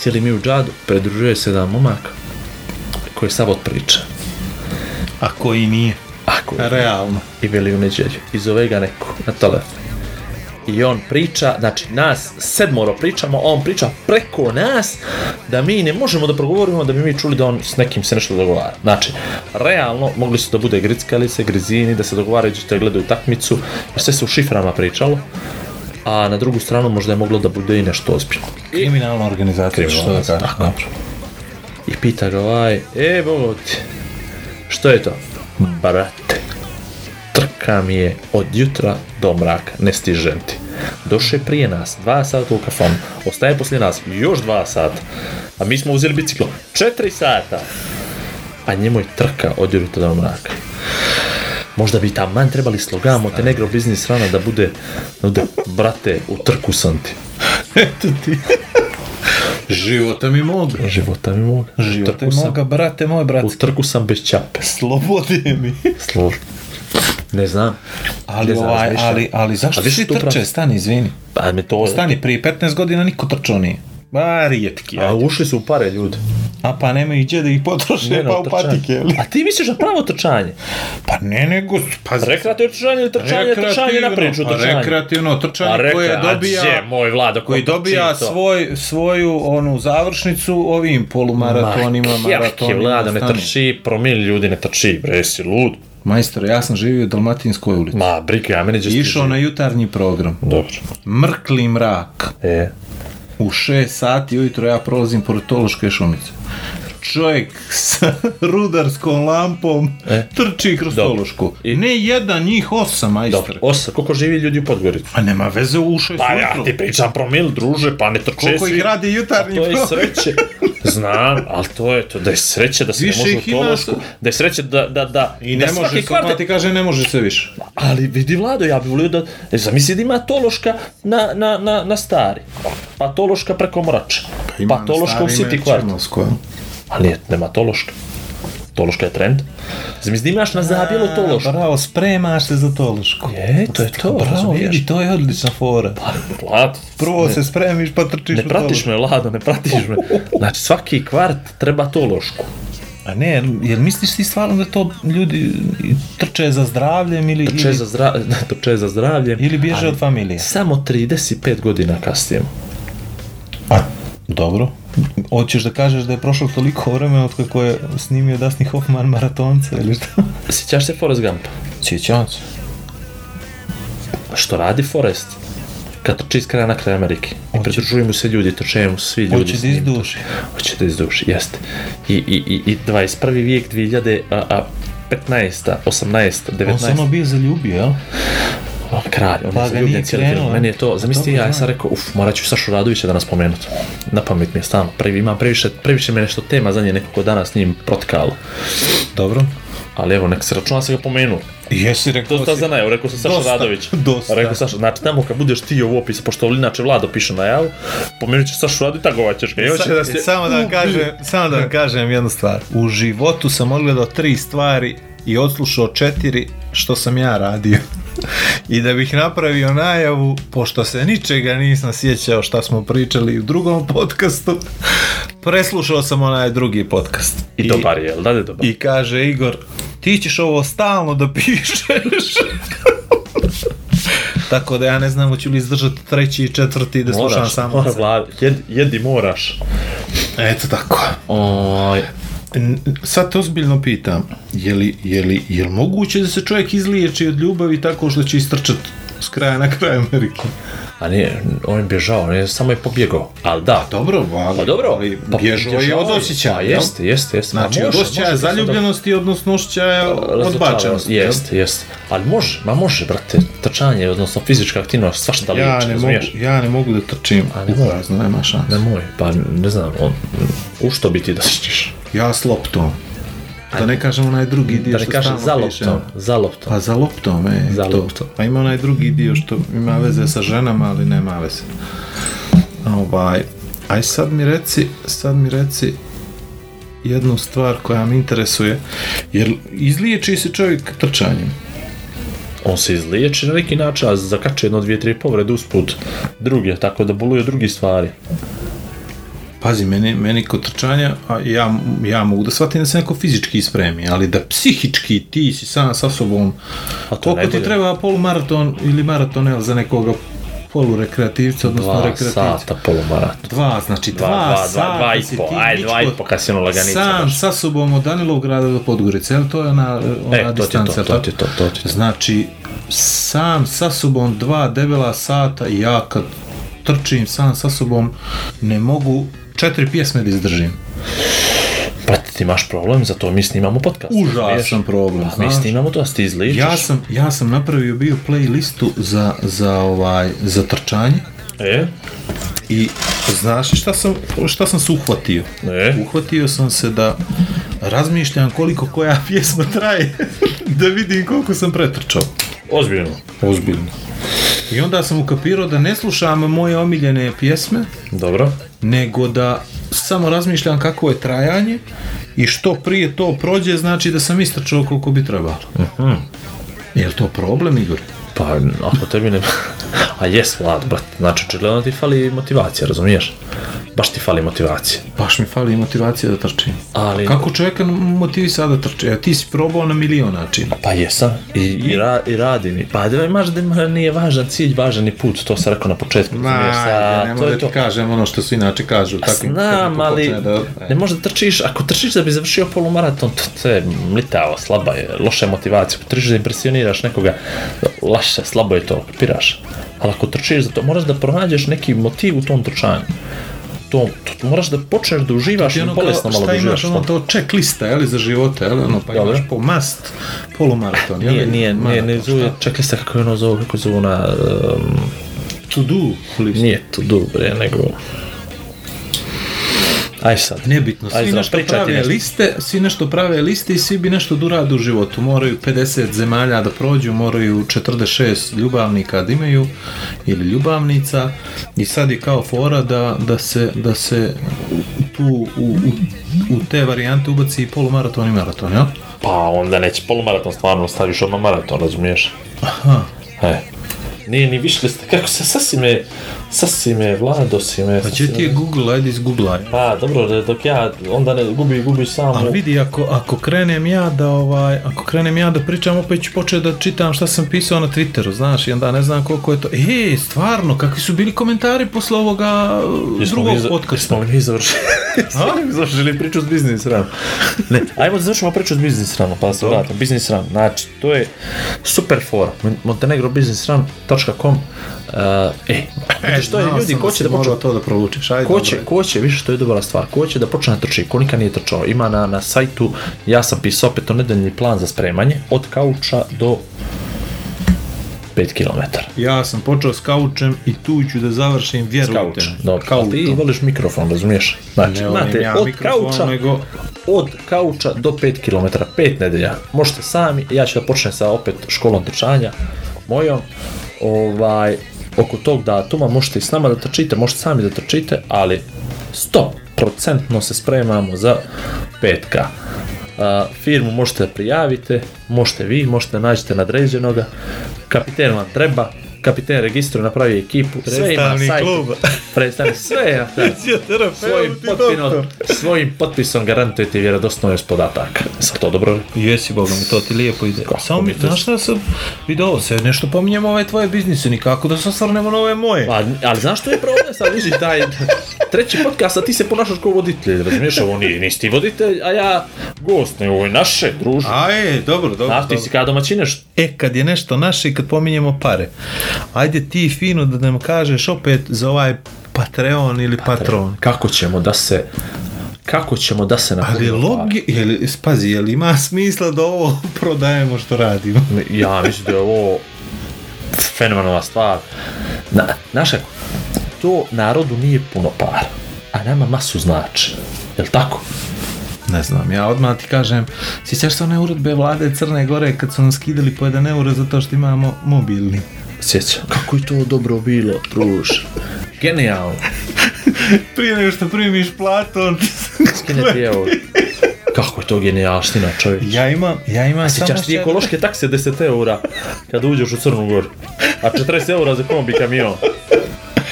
Speaker 4: Sjeli mi u džadu, pridružuje se da momak koji sav od priča.
Speaker 3: A koji nije.
Speaker 4: Ako je.
Speaker 3: Realno.
Speaker 4: I veli u neđelju. I zove ga neko na telefon. I on priča, znači nas sedmoro pričamo, a on priča preko nas da mi ne možemo da progovorimo da bi mi čuli da on s nekim se nešto dogovara. Znači, realno mogli su da bude grickali se, grizini, da se dogovaraju da gledaju takmicu, jer sve se u šiframa pričalo, a na drugu stranu možda je moglo da bude i nešto ozbiljno.
Speaker 3: Kriminalna organizacija,
Speaker 4: Kriminalna,
Speaker 3: što da kažem. Dobro.
Speaker 4: I pita ga ovaj, e, bogo ti, što je to? Brate, trka mi je od jutra do mraka, ne stižem ti. Došao je prije nas, dva sata u kafanu, ostaje poslije nas, još dva sata. A mi smo uzeli biciklo, četiri sata. A njemu je trka od jutra do mraka. Možda bi taman trebali slogan Montenegro Business Rana da bude, da bude brate, u trku sam ti.
Speaker 3: Eto ti. Života mi moga.
Speaker 4: Života mi moga.
Speaker 3: Života
Speaker 4: Trku
Speaker 3: mi
Speaker 4: sam-
Speaker 3: moga, brate moj, brate.
Speaker 4: U trku sam bez čape.
Speaker 3: Slobode mi.
Speaker 4: Služ. Ne znam.
Speaker 3: Ali,
Speaker 4: Ne znam,
Speaker 3: ovaj,
Speaker 4: razmišljam.
Speaker 3: ali, ali zašto
Speaker 4: A vidiš
Speaker 3: svi
Speaker 4: tu
Speaker 3: trče?
Speaker 4: pravu-
Speaker 3: Stani, izvini.
Speaker 4: Pa me to...
Speaker 3: Stani, prije 15 godina niko trčao nije. Ba, rijetki.
Speaker 4: A
Speaker 3: A,
Speaker 4: ušli su u pare ljudi.
Speaker 3: a pa nemaju gdje da ih potroše,
Speaker 4: Ne, no,
Speaker 3: pa u
Speaker 4: trčanje.
Speaker 3: patike. Jeli?
Speaker 4: A ti misliš na pravo trčanje?
Speaker 3: Pa ne, nego, pa
Speaker 4: Rekreativno trčanje ili trčanje, trčanje na priču
Speaker 3: pa
Speaker 4: trčanje. Pa
Speaker 3: rekreativno
Speaker 4: A
Speaker 3: trčanje
Speaker 4: rekre-
Speaker 3: koje
Speaker 4: a gdje,
Speaker 3: dobija
Speaker 4: moj vlada,
Speaker 3: koji dobija
Speaker 4: čini to?
Speaker 3: svoj, svoju onu završnicu ovim polumaratonima,
Speaker 4: Ma, jahke,
Speaker 3: maratonima.
Speaker 4: vlada, ne
Speaker 3: stani.
Speaker 4: trči, promil ljudi ne trči, bre, si lud.
Speaker 3: Majstore, ja sam živio u Dalmatinskoj ulici.
Speaker 4: Ma, briga, ja mene gdje
Speaker 3: Išao na jutarnji program.
Speaker 4: Dobro.
Speaker 3: Mrkli mrak.
Speaker 4: E,
Speaker 3: U 6 sati ujutro ja prolazim pored Tološke šumice. Čovjek sa rudarskom lampom
Speaker 4: E.
Speaker 3: trči kroz
Speaker 4: Dobro.
Speaker 3: Tološku.
Speaker 4: I-
Speaker 3: Ne jedan, njih osam,
Speaker 4: dobro.
Speaker 3: majstore.
Speaker 4: Osa, koliko živi ljudi u Podgorici?
Speaker 3: Pa nema veze u 6
Speaker 4: Pa ja ti pričam promil, druže, pa ne trče
Speaker 3: Koliko
Speaker 4: svi.
Speaker 3: ih radi jutarnji
Speaker 4: To je
Speaker 3: program?
Speaker 4: sreće. Znam, ali to je to, da je sreće da se
Speaker 3: Više
Speaker 4: ne može
Speaker 3: ih
Speaker 4: u
Speaker 3: ima
Speaker 4: Tološku, da je sreće da, da, da,
Speaker 3: I ne
Speaker 4: da
Speaker 3: može se, kvarte... ti kaže ne može se više.
Speaker 4: Ali vidi Vlado, ja bih volio da, e, zamisli da ima Tološka na, na, na, na stari, pa Tološka preko Morača, pa, Tološka u City kvartu. Ali je, nema Tološka. Tološka je trend. Zamisli da imaš na zabijelu Tološku.
Speaker 3: E, Bravo, spremaš se za Tološku.
Speaker 4: E, to je to,
Speaker 3: Bravo,
Speaker 4: razumiješ?
Speaker 3: vidi, to je odlična fora.
Speaker 4: Pa, Vlado,
Speaker 3: Prvo se spremiš pa trčiš
Speaker 4: ne
Speaker 3: u
Speaker 4: pratiš
Speaker 3: Tološku.
Speaker 4: me, Vlado, ne pratiš me. Znači, svaki kvart treba Tološku.
Speaker 3: A ne, jel- jel misliš ti stvarno da to ljudi trče za zdravljem ili,
Speaker 4: Trče
Speaker 3: ili,
Speaker 4: za, zdra... trče za zdravlje.
Speaker 3: ili bježe od familije?
Speaker 4: Samo 35 godina kasnije.
Speaker 3: A, dobro. Hoćeš da kažeš da je prošlo toliko vremena od kako je snimio Dustin Hoffman maratonca ili šta?
Speaker 4: Sjećaš se Forrest Gumpa? Pa
Speaker 3: Sjećam se.
Speaker 4: Što radi Forrest? Kad trči iz kraja na kraj Amerike. I pridružuju mu se ljudi, trče mu svi ljudi.
Speaker 3: Hoće
Speaker 4: s
Speaker 3: da
Speaker 4: njim.
Speaker 3: izduši.
Speaker 4: Hoće da izduši, jeste. I, i, i, i 21. vijek 2000, a, a 15. 18.
Speaker 3: On
Speaker 4: 19.
Speaker 3: se ono bio zaljubio, jel?
Speaker 4: O, kralj, on
Speaker 3: Pa
Speaker 4: je
Speaker 3: ga
Speaker 4: zaljubljen
Speaker 3: nije
Speaker 4: cijeli
Speaker 3: krenuo,
Speaker 4: film.
Speaker 3: a?
Speaker 4: Meni je to, zamisli
Speaker 3: Dobro,
Speaker 4: ja, ja sam
Speaker 3: znam.
Speaker 4: rekao, uf, morat ću Sašu Radovića danas spomenuti. Na pamet mi je stalno, previ, imam previše, previše me nešto tema za nje nekako danas s njim protkalo.
Speaker 3: Dobro.
Speaker 4: Ali evo, nek se računa se ga pomenu.
Speaker 3: Jesi rekao
Speaker 4: Dosta za najavu, rekao sam Saša
Speaker 3: Dosta,
Speaker 4: Radović.
Speaker 3: dosta.
Speaker 4: Rekao Saša, znači tamo kad budeš ti ovo opisa, pošto inače Vlado piše najavu, pomenut ćeš Sašu Radović, tako ćeš ga. I E, hoće da se...
Speaker 3: Samo da vam kažem, samo da vam kažem jednu stvar. U životu sam odgledao tri stvari i odslušao četiri što sam ja radio. I da bih napravio najavu, pošto se ničega nisam sjećao šta smo pričali u drugom podcastu, preslušao sam onaj drugi podcast.
Speaker 4: I pa- dobar je, jel da da je dobar?
Speaker 3: I kaže Igor, ti ćeš ovo stalno da pišeš. Tako da ja ne znam hoću li izdržati treći i četvrti i da slušam
Speaker 4: moraš,
Speaker 3: samo.
Speaker 4: mora
Speaker 3: sebe.
Speaker 4: vlada, jed, jedi moraš.
Speaker 3: Eto tako.
Speaker 4: Oj,
Speaker 3: N- Sad te ozbiljno pitam, je li, je li, je li moguće da se čovjek izliječi od ljubavi tako što će istrčat s kraja na kraj Amerike?
Speaker 4: a nije, on je bježao, on je samo je pobjegao. Ali da,
Speaker 3: Dobro, ali,
Speaker 4: Pa dobro,
Speaker 3: ali bježao je od osjećaja.
Speaker 4: Pa
Speaker 3: jel?
Speaker 4: jeste, jeste, jeste.
Speaker 3: Znači,
Speaker 4: ma
Speaker 3: od
Speaker 4: može,
Speaker 3: osjećaja
Speaker 4: može Pa, da se
Speaker 3: zaljubljenosti, odnosno osjećaja
Speaker 4: onda razočaranost.
Speaker 3: odbačenosti. jel?
Speaker 4: Jeste, jeste. Ali može, ma može, brate, trčanje, odnosno fizička aktivnost, svašta liječi,
Speaker 3: Ja ne, mogu,
Speaker 4: razumiješ?
Speaker 3: ja ne mogu da trčim.
Speaker 4: A ne mogu.
Speaker 3: Ulazno, nema šanse.
Speaker 4: Nemoj, pa ne znam, on, u što bi ti da ćeš?
Speaker 3: Ja s loptom. Da ne kažem onaj drugi dio
Speaker 4: Da ne
Speaker 3: što
Speaker 4: kažem
Speaker 3: stalno
Speaker 4: za
Speaker 3: pišem.
Speaker 4: loptom, za loptom.
Speaker 3: Pa za loptom, e,
Speaker 4: Za
Speaker 3: to.
Speaker 4: loptom.
Speaker 3: Pa ima onaj drugi dio što ima veze sa ženama, ali nema veze. Ovaj, aj sad mi reci, sad mi reci jednu stvar koja me interesuje, jer izliječi se čovjek trčanjem. Pa.
Speaker 4: On se izliječi na neki način, a zakače jedno, dvije, tri povrede usput druge, tako da boluje od drugih stvari.
Speaker 3: Pazi, meni, meni kod trčanja, a ja, ja mogu da shvatim da se neko fizički ispremi, ali da psihički ti si sam sa sobom,
Speaker 4: A Pa to
Speaker 3: koliko ti
Speaker 4: najbolje.
Speaker 3: treba polumaraton ili maraton jel, za nekoga polurekreativca, odnosno
Speaker 4: Dva
Speaker 3: rekreativca?
Speaker 4: sata polumaraton.
Speaker 3: Dva, znači dva,
Speaker 4: Dva, dva, dva,
Speaker 3: sata
Speaker 4: dva i
Speaker 3: si
Speaker 4: po,
Speaker 3: ti
Speaker 4: ajde, dva i
Speaker 3: bičko
Speaker 4: po kad si ono laganica.
Speaker 3: Sam
Speaker 4: baš.
Speaker 3: sa sobom od Danilovgrada do Podgorice, jel to je ona, ona
Speaker 4: E, to ti je
Speaker 3: distanca? pa-
Speaker 4: to,
Speaker 3: jel
Speaker 4: to ti je to, to ti je to.
Speaker 3: Znači, sam sa sobom dva debela sata i ja kad trčim sam sa sobom ne mogu četiri pjesme da izdržim.
Speaker 4: Pa ti imaš problem, zato mi snimamo podcast.
Speaker 3: Užasan problem,
Speaker 4: Mi
Speaker 3: znaš.
Speaker 4: snimamo to, da se Pa, ti izliječiš.
Speaker 3: Ja sam, ja sam napravio bio playlistu za, za, ovaj, za trčanje
Speaker 4: E,
Speaker 3: i znaš šta sam, šta sam se uhvatio?
Speaker 4: e,
Speaker 3: Uhvatio sam se da razmišljam koliko koja pjesma traje, da vidim koliko sam pretrčao.
Speaker 4: ozbiljno.
Speaker 3: Ozbiljno. I onda sam ukapirao da ne slušam moje omiljene pjesme,
Speaker 4: Dobro.
Speaker 3: nego da samo razmišljam kako je trajanje i što prije to prođe znači da sam istrčao koliko bi trebalo. Je li to problem, Igor?
Speaker 4: Pa, ako tebi ne... A jes, Vlad, brat. Znači, očigledno ti fali motivacija, razumiješ? Baš ti fali motivacija.
Speaker 3: Baš mi fali motivacija da trčim.
Speaker 4: Ali...
Speaker 3: Kako čovjeka motivi sada da trče? A ti si probao na milion načina.
Speaker 4: Pa jesam, i, i, ra, i radim. i- Pa da imaš da ima, nije važan cilj, važan je put, to sam rekao na početku. razumiješ, a,
Speaker 3: ne mogu da ti kažem ono što svi inače kažu. Tako,
Speaker 4: Znam, ali
Speaker 3: E.
Speaker 4: ne može da trčiš, ako trčiš da bi završio polumaraton, to, to je mlitavo, slaba je, loša je motivacija. Ako trčiš da impresioniraš nekoga, laše, slabo je to, kapiraš. Ali ako trčiš za to, moraš da pronađeš neki motiv u tom trčanju. To, to, to moraš da počneš da uživaš,
Speaker 3: Ti
Speaker 4: ono
Speaker 3: ono kao,
Speaker 4: bolesno malo da
Speaker 3: šta
Speaker 4: uživaš.
Speaker 3: imaš, ono
Speaker 4: to.
Speaker 3: to checklista, jeli, za života, jeli, ono, pa
Speaker 4: Dobro.
Speaker 3: imaš po mast, polumaraton, jeli?
Speaker 4: Nije, nije, nije,
Speaker 3: maraton,
Speaker 4: ne zove,
Speaker 3: šta?
Speaker 4: čekaj se kako je ono zove, kako je zove ona, um,
Speaker 3: To do list.
Speaker 4: nije to dobre, nego... Aj sad.
Speaker 3: Nebitno,
Speaker 4: Aj,
Speaker 3: svi
Speaker 4: zdrav,
Speaker 3: nešto
Speaker 4: pričaj ti
Speaker 3: prave
Speaker 4: nešto.
Speaker 3: liste, svi nešto prave liste i svi bi nešto da urade u životu. Moraju 50 zemalja da prođu, moraju 46 ljubavnika da imaju ili ljubavnica i sad je kao fora da, da, se, da se tu u, u, u te varijante ubaci i polumaraton i maraton, jel?
Speaker 4: Pa onda neće polumaraton stvarno staviš odmah maraton, razumiješ?
Speaker 3: Aha,
Speaker 4: E. Nije ni više liste, kako se, sasvim je, sasvim je, vlado si me,
Speaker 3: pa će ti je Google, ajde iz Google-a, jel?
Speaker 4: Pa dobro, da- dok ja, onda ne, gubi, gubi samo.
Speaker 3: Ali vidi, ako, ako krenem ja da ovaj, ako krenem ja da pričam, opet ću početi da čitam šta sam pisao na Twitteru, znaš, i onda ne znam koliko je to. E, stvarno, kakvi su bili komentari posle ovoga uh,
Speaker 4: Jesmo
Speaker 3: drugog
Speaker 4: mi za-
Speaker 3: podcasta?
Speaker 4: Jesmo li mi završili?
Speaker 3: A?
Speaker 4: završili priču s biznis ranom. Ne, ajmo da završimo priču s biznis ranom, pa da se vratimo. Biznis ran, znači, to je super fora. montenegrobiznisran.com Uh, e, e, što je
Speaker 3: Znao
Speaker 4: ljudi,
Speaker 3: sam
Speaker 4: ko će
Speaker 3: si
Speaker 4: da počne
Speaker 3: morao to da provučeš, ajde.
Speaker 4: Ko
Speaker 3: dobro.
Speaker 4: će, ko će, više to je dobra stvar, ko će da počne da trči, ko nikad nije trčao, ima na, na sajtu, ja sam pisao petonedeljni plan za spremanje, od kauča do 5 km.
Speaker 3: Ja sam počeo s kaučem i tu ću da završim, vjerujte.
Speaker 4: Kauč,
Speaker 3: mi.
Speaker 4: dobro,
Speaker 3: Kaučom.
Speaker 4: ali ti voliš mikrofon, razumiješ? Znači,
Speaker 3: Ne volim
Speaker 4: znate,
Speaker 3: ja
Speaker 4: od
Speaker 3: mikrofon,
Speaker 4: kauča,
Speaker 3: nego-
Speaker 4: od kauča do 5 km, 5 nedelja, možete sami, ja ću da počnem sa opet školom trčanja, mojom, ovaj, oko tog datuma možete i s nama da trčite, možete sami da trčite, ali 100% se spremamo za petka. A, firmu možete da prijavite, možete vi, možete da nađete nadređenoga, kapiten vam treba, kapiten registruje, napravi ekipu, sve ima na
Speaker 3: Predstavnik
Speaker 4: sajtu.
Speaker 3: kluba.
Speaker 4: Predstavnik, sve je na sajtu. Svojim,
Speaker 3: Fizioterapeut i doktor.
Speaker 4: potpinom, svojim potpisom garantujete vjerodostojnost podataka. Sam to dobro rekao?
Speaker 3: Jesi, bogom, to ti lijepo ide. Samo mi,
Speaker 4: mi to-
Speaker 3: znaš šta sam vidio ovo, sve nešto pominjemo ove tvoje biznise, nikako da se osvrnemo na ove moje.
Speaker 4: Pa, ali znaš što je problem sad, vidiš, taj treći podcast, a ti se ponašaš kao voditelj, razumiješ, ovo nije, nisi ti voditelj, a ja gost, nego ovo je naše, druže.
Speaker 3: A je, dobro, dobro.
Speaker 4: Znaš, ti
Speaker 3: dobro.
Speaker 4: si kada domaćineš,
Speaker 3: E, kad je nešto naše i kad pominjemo pare, ajde ti fino da nam kažeš opet za ovaj Patreon ili Patron.
Speaker 4: kako ćemo da se, kako ćemo da se
Speaker 3: Ali
Speaker 4: napunimo
Speaker 3: logi, je li, spazi, je li ima smisla da ovo prodajemo što radimo?
Speaker 4: pare? Ja mislim da je ovo fenomenalna stvar. Na, znaš kako, to narodu nije puno para, a nama masu znači, jel tako?
Speaker 3: Ne znam, ja odmah ti kažem, sjećaš se one uredbe vlade Crne Gore kad su nam skidali po jedan euro zato što imamo mobilni?
Speaker 4: Sjećam. Kako je to dobro bilo, druž. Genijalno.
Speaker 3: Prije nego što primiš platu, on ti
Speaker 4: Skine ti evo. Kako je to genijalština, čovjek.
Speaker 3: Ja imam, ja imam samo
Speaker 4: Sjećaš ti
Speaker 3: sebe.
Speaker 4: ekološke takse 10 eura kada uđeš u Crnu Goru, a 40 eura za kombi kamion.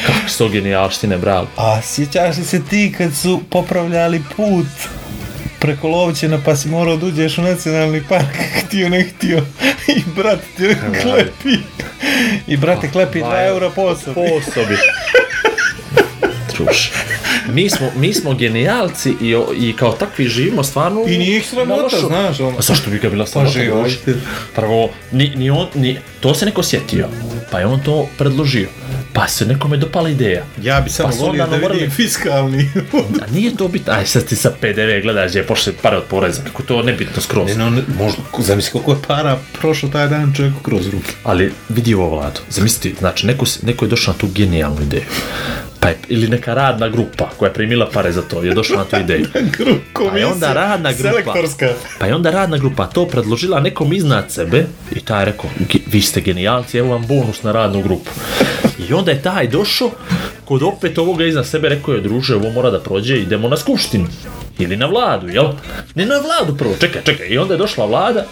Speaker 4: Kako su to genijalštine, bravo.
Speaker 3: A sjećaš li se ti kad su popravljali put preko Lovćena pa si morao da uđeš u nacionalni park, htio ne htio, i brat te klepi. I brate klepi 2 eura Oh, po osobi.
Speaker 4: Po osobi. Druž. Mi smo, mi smo genijalci i, o- i kao takvi živimo stvarno...
Speaker 3: I nije ih
Speaker 4: na
Speaker 3: sramota,
Speaker 4: lošu-
Speaker 3: znaš, ono.
Speaker 4: A zašto bi ga bila sramota?
Speaker 3: Pa život.
Speaker 4: druže? Prvo, ni, ni on, ni, to se neko sjetio, pa je on to predložio, pa se nekome dopala ideja.
Speaker 3: Ja bi samo
Speaker 4: Pa su
Speaker 3: volio
Speaker 4: onda
Speaker 3: da
Speaker 4: morali-
Speaker 3: vidim fiskalni.
Speaker 4: A nije to bitno, aj sad ti sa PDV gledaš gdje je pošli pare od poreza, kako to nebitno skroz.
Speaker 3: ne, no, ne, možda, zamisli koliko je para prošlo taj dan čovjeku kroz ruke.
Speaker 4: Ali vidi ovo vladu, zamisli, znači neko, se- neko je došao na tu genijalnu ideju. Pa je, ili neka radna grupa koja je primila pare za to je došla na tu ideju.
Speaker 3: Grup,
Speaker 4: Pa je
Speaker 3: komisija,
Speaker 4: onda radna grupa.
Speaker 3: Selektorska.
Speaker 4: Pa je onda radna grupa to predložila nekom iznad sebe i taj je rekao, "Ge- vi ste genijalci, evo vam bonus na radnu grupu. I onda je taj došao, kod opet ovoga iznad sebe rekao je, druže, ovo mora da prođe, idemo na skupštinu. Ili na vladu, jel? Ne na vladu prvo, čekaj, čekaj. I onda je došla vlada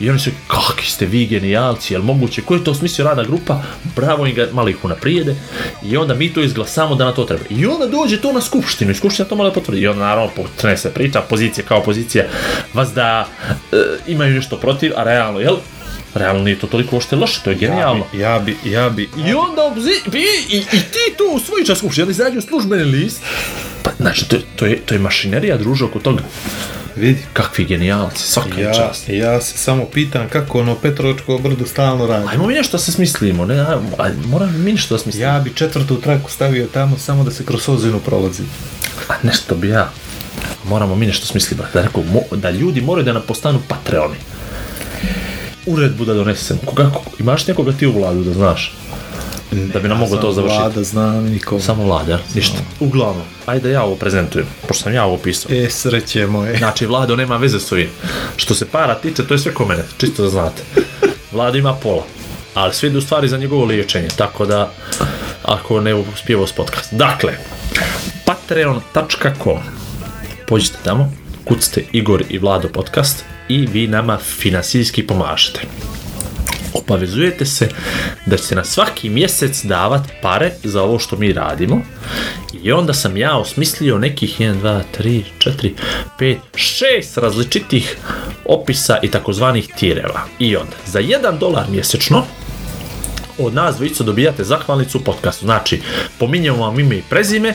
Speaker 4: i oni su, kakvi ste vi genijalci, jel moguće, ko je to smislio radna grupa, bravo im ga, malo ih unaprijede i onda mi to izglasamo da na to treba. I onda dođe to na skupštinu i skupština to mora da potvrdi. I onda naravno potrene se priča, pozicija kao pozicija, vas da e, imaju nešto protiv, a realno, jel? Realno nije to toliko ošte loše, to je genijalno.
Speaker 3: Ja bi, ja bi,
Speaker 4: I onda obzi, vi, i, i ti to usvojiš na skupštini, onda izađu službeni list. Pa, znači, to, je- to, je, to je mašinerija druža oko toga.
Speaker 3: vidi,
Speaker 4: Kakvi genijalci, svaka ja.
Speaker 3: Ja,
Speaker 4: čast.
Speaker 3: ja se samo pitam kako ono Petrovačko brdo stalno radi.
Speaker 4: Ajmo mi nešto da se smislimo, ne, ajmo, ajmo, moramo mi nešto da smislimo.
Speaker 3: Ja bi četvrtu traku stavio tamo samo da se kroz ozinu prolazi.
Speaker 4: A nešto bi ja. Moramo mi nešto smisliti, brate. Da, neko, mo, da ljudi moraju da nam postanu patreoni. Uredbu da donesemo. Koga, ko, imaš nekoga ti u vladu da znaš? Da bi nam moglo to završiti.
Speaker 3: Vlada znam nikom.
Speaker 4: Samo vlada, jel? ništa. Uglavnom, ajde da ja ovo prezentujem, pošto sam ja ovo pisao.
Speaker 3: E, sreće moje.
Speaker 4: Znači, Vlado nema veze s ovim. Što se para tiče, to je sve ko mene, čisto da znate. Vlado ima pola, ali sve idu stvari za njegovo liječenje, tako da, ako ne uspijeva s podcast. Dakle, patreon.com Pođite tamo, kucite Igor i Vlado podcast i vi nama finansijski pomažete. Obavezujete se da ćete na svaki mjesec davat pare za ovo što mi radimo i onda sam ja osmislio nekih 1, 2, 3, 4, 5, 6 različitih opisa i takozvanih tireva. I onda, za 1 dolar mjesečno od nas dvojica dobijate zahvalnicu u podcastu. Znači, pominjemo vam ime i prezime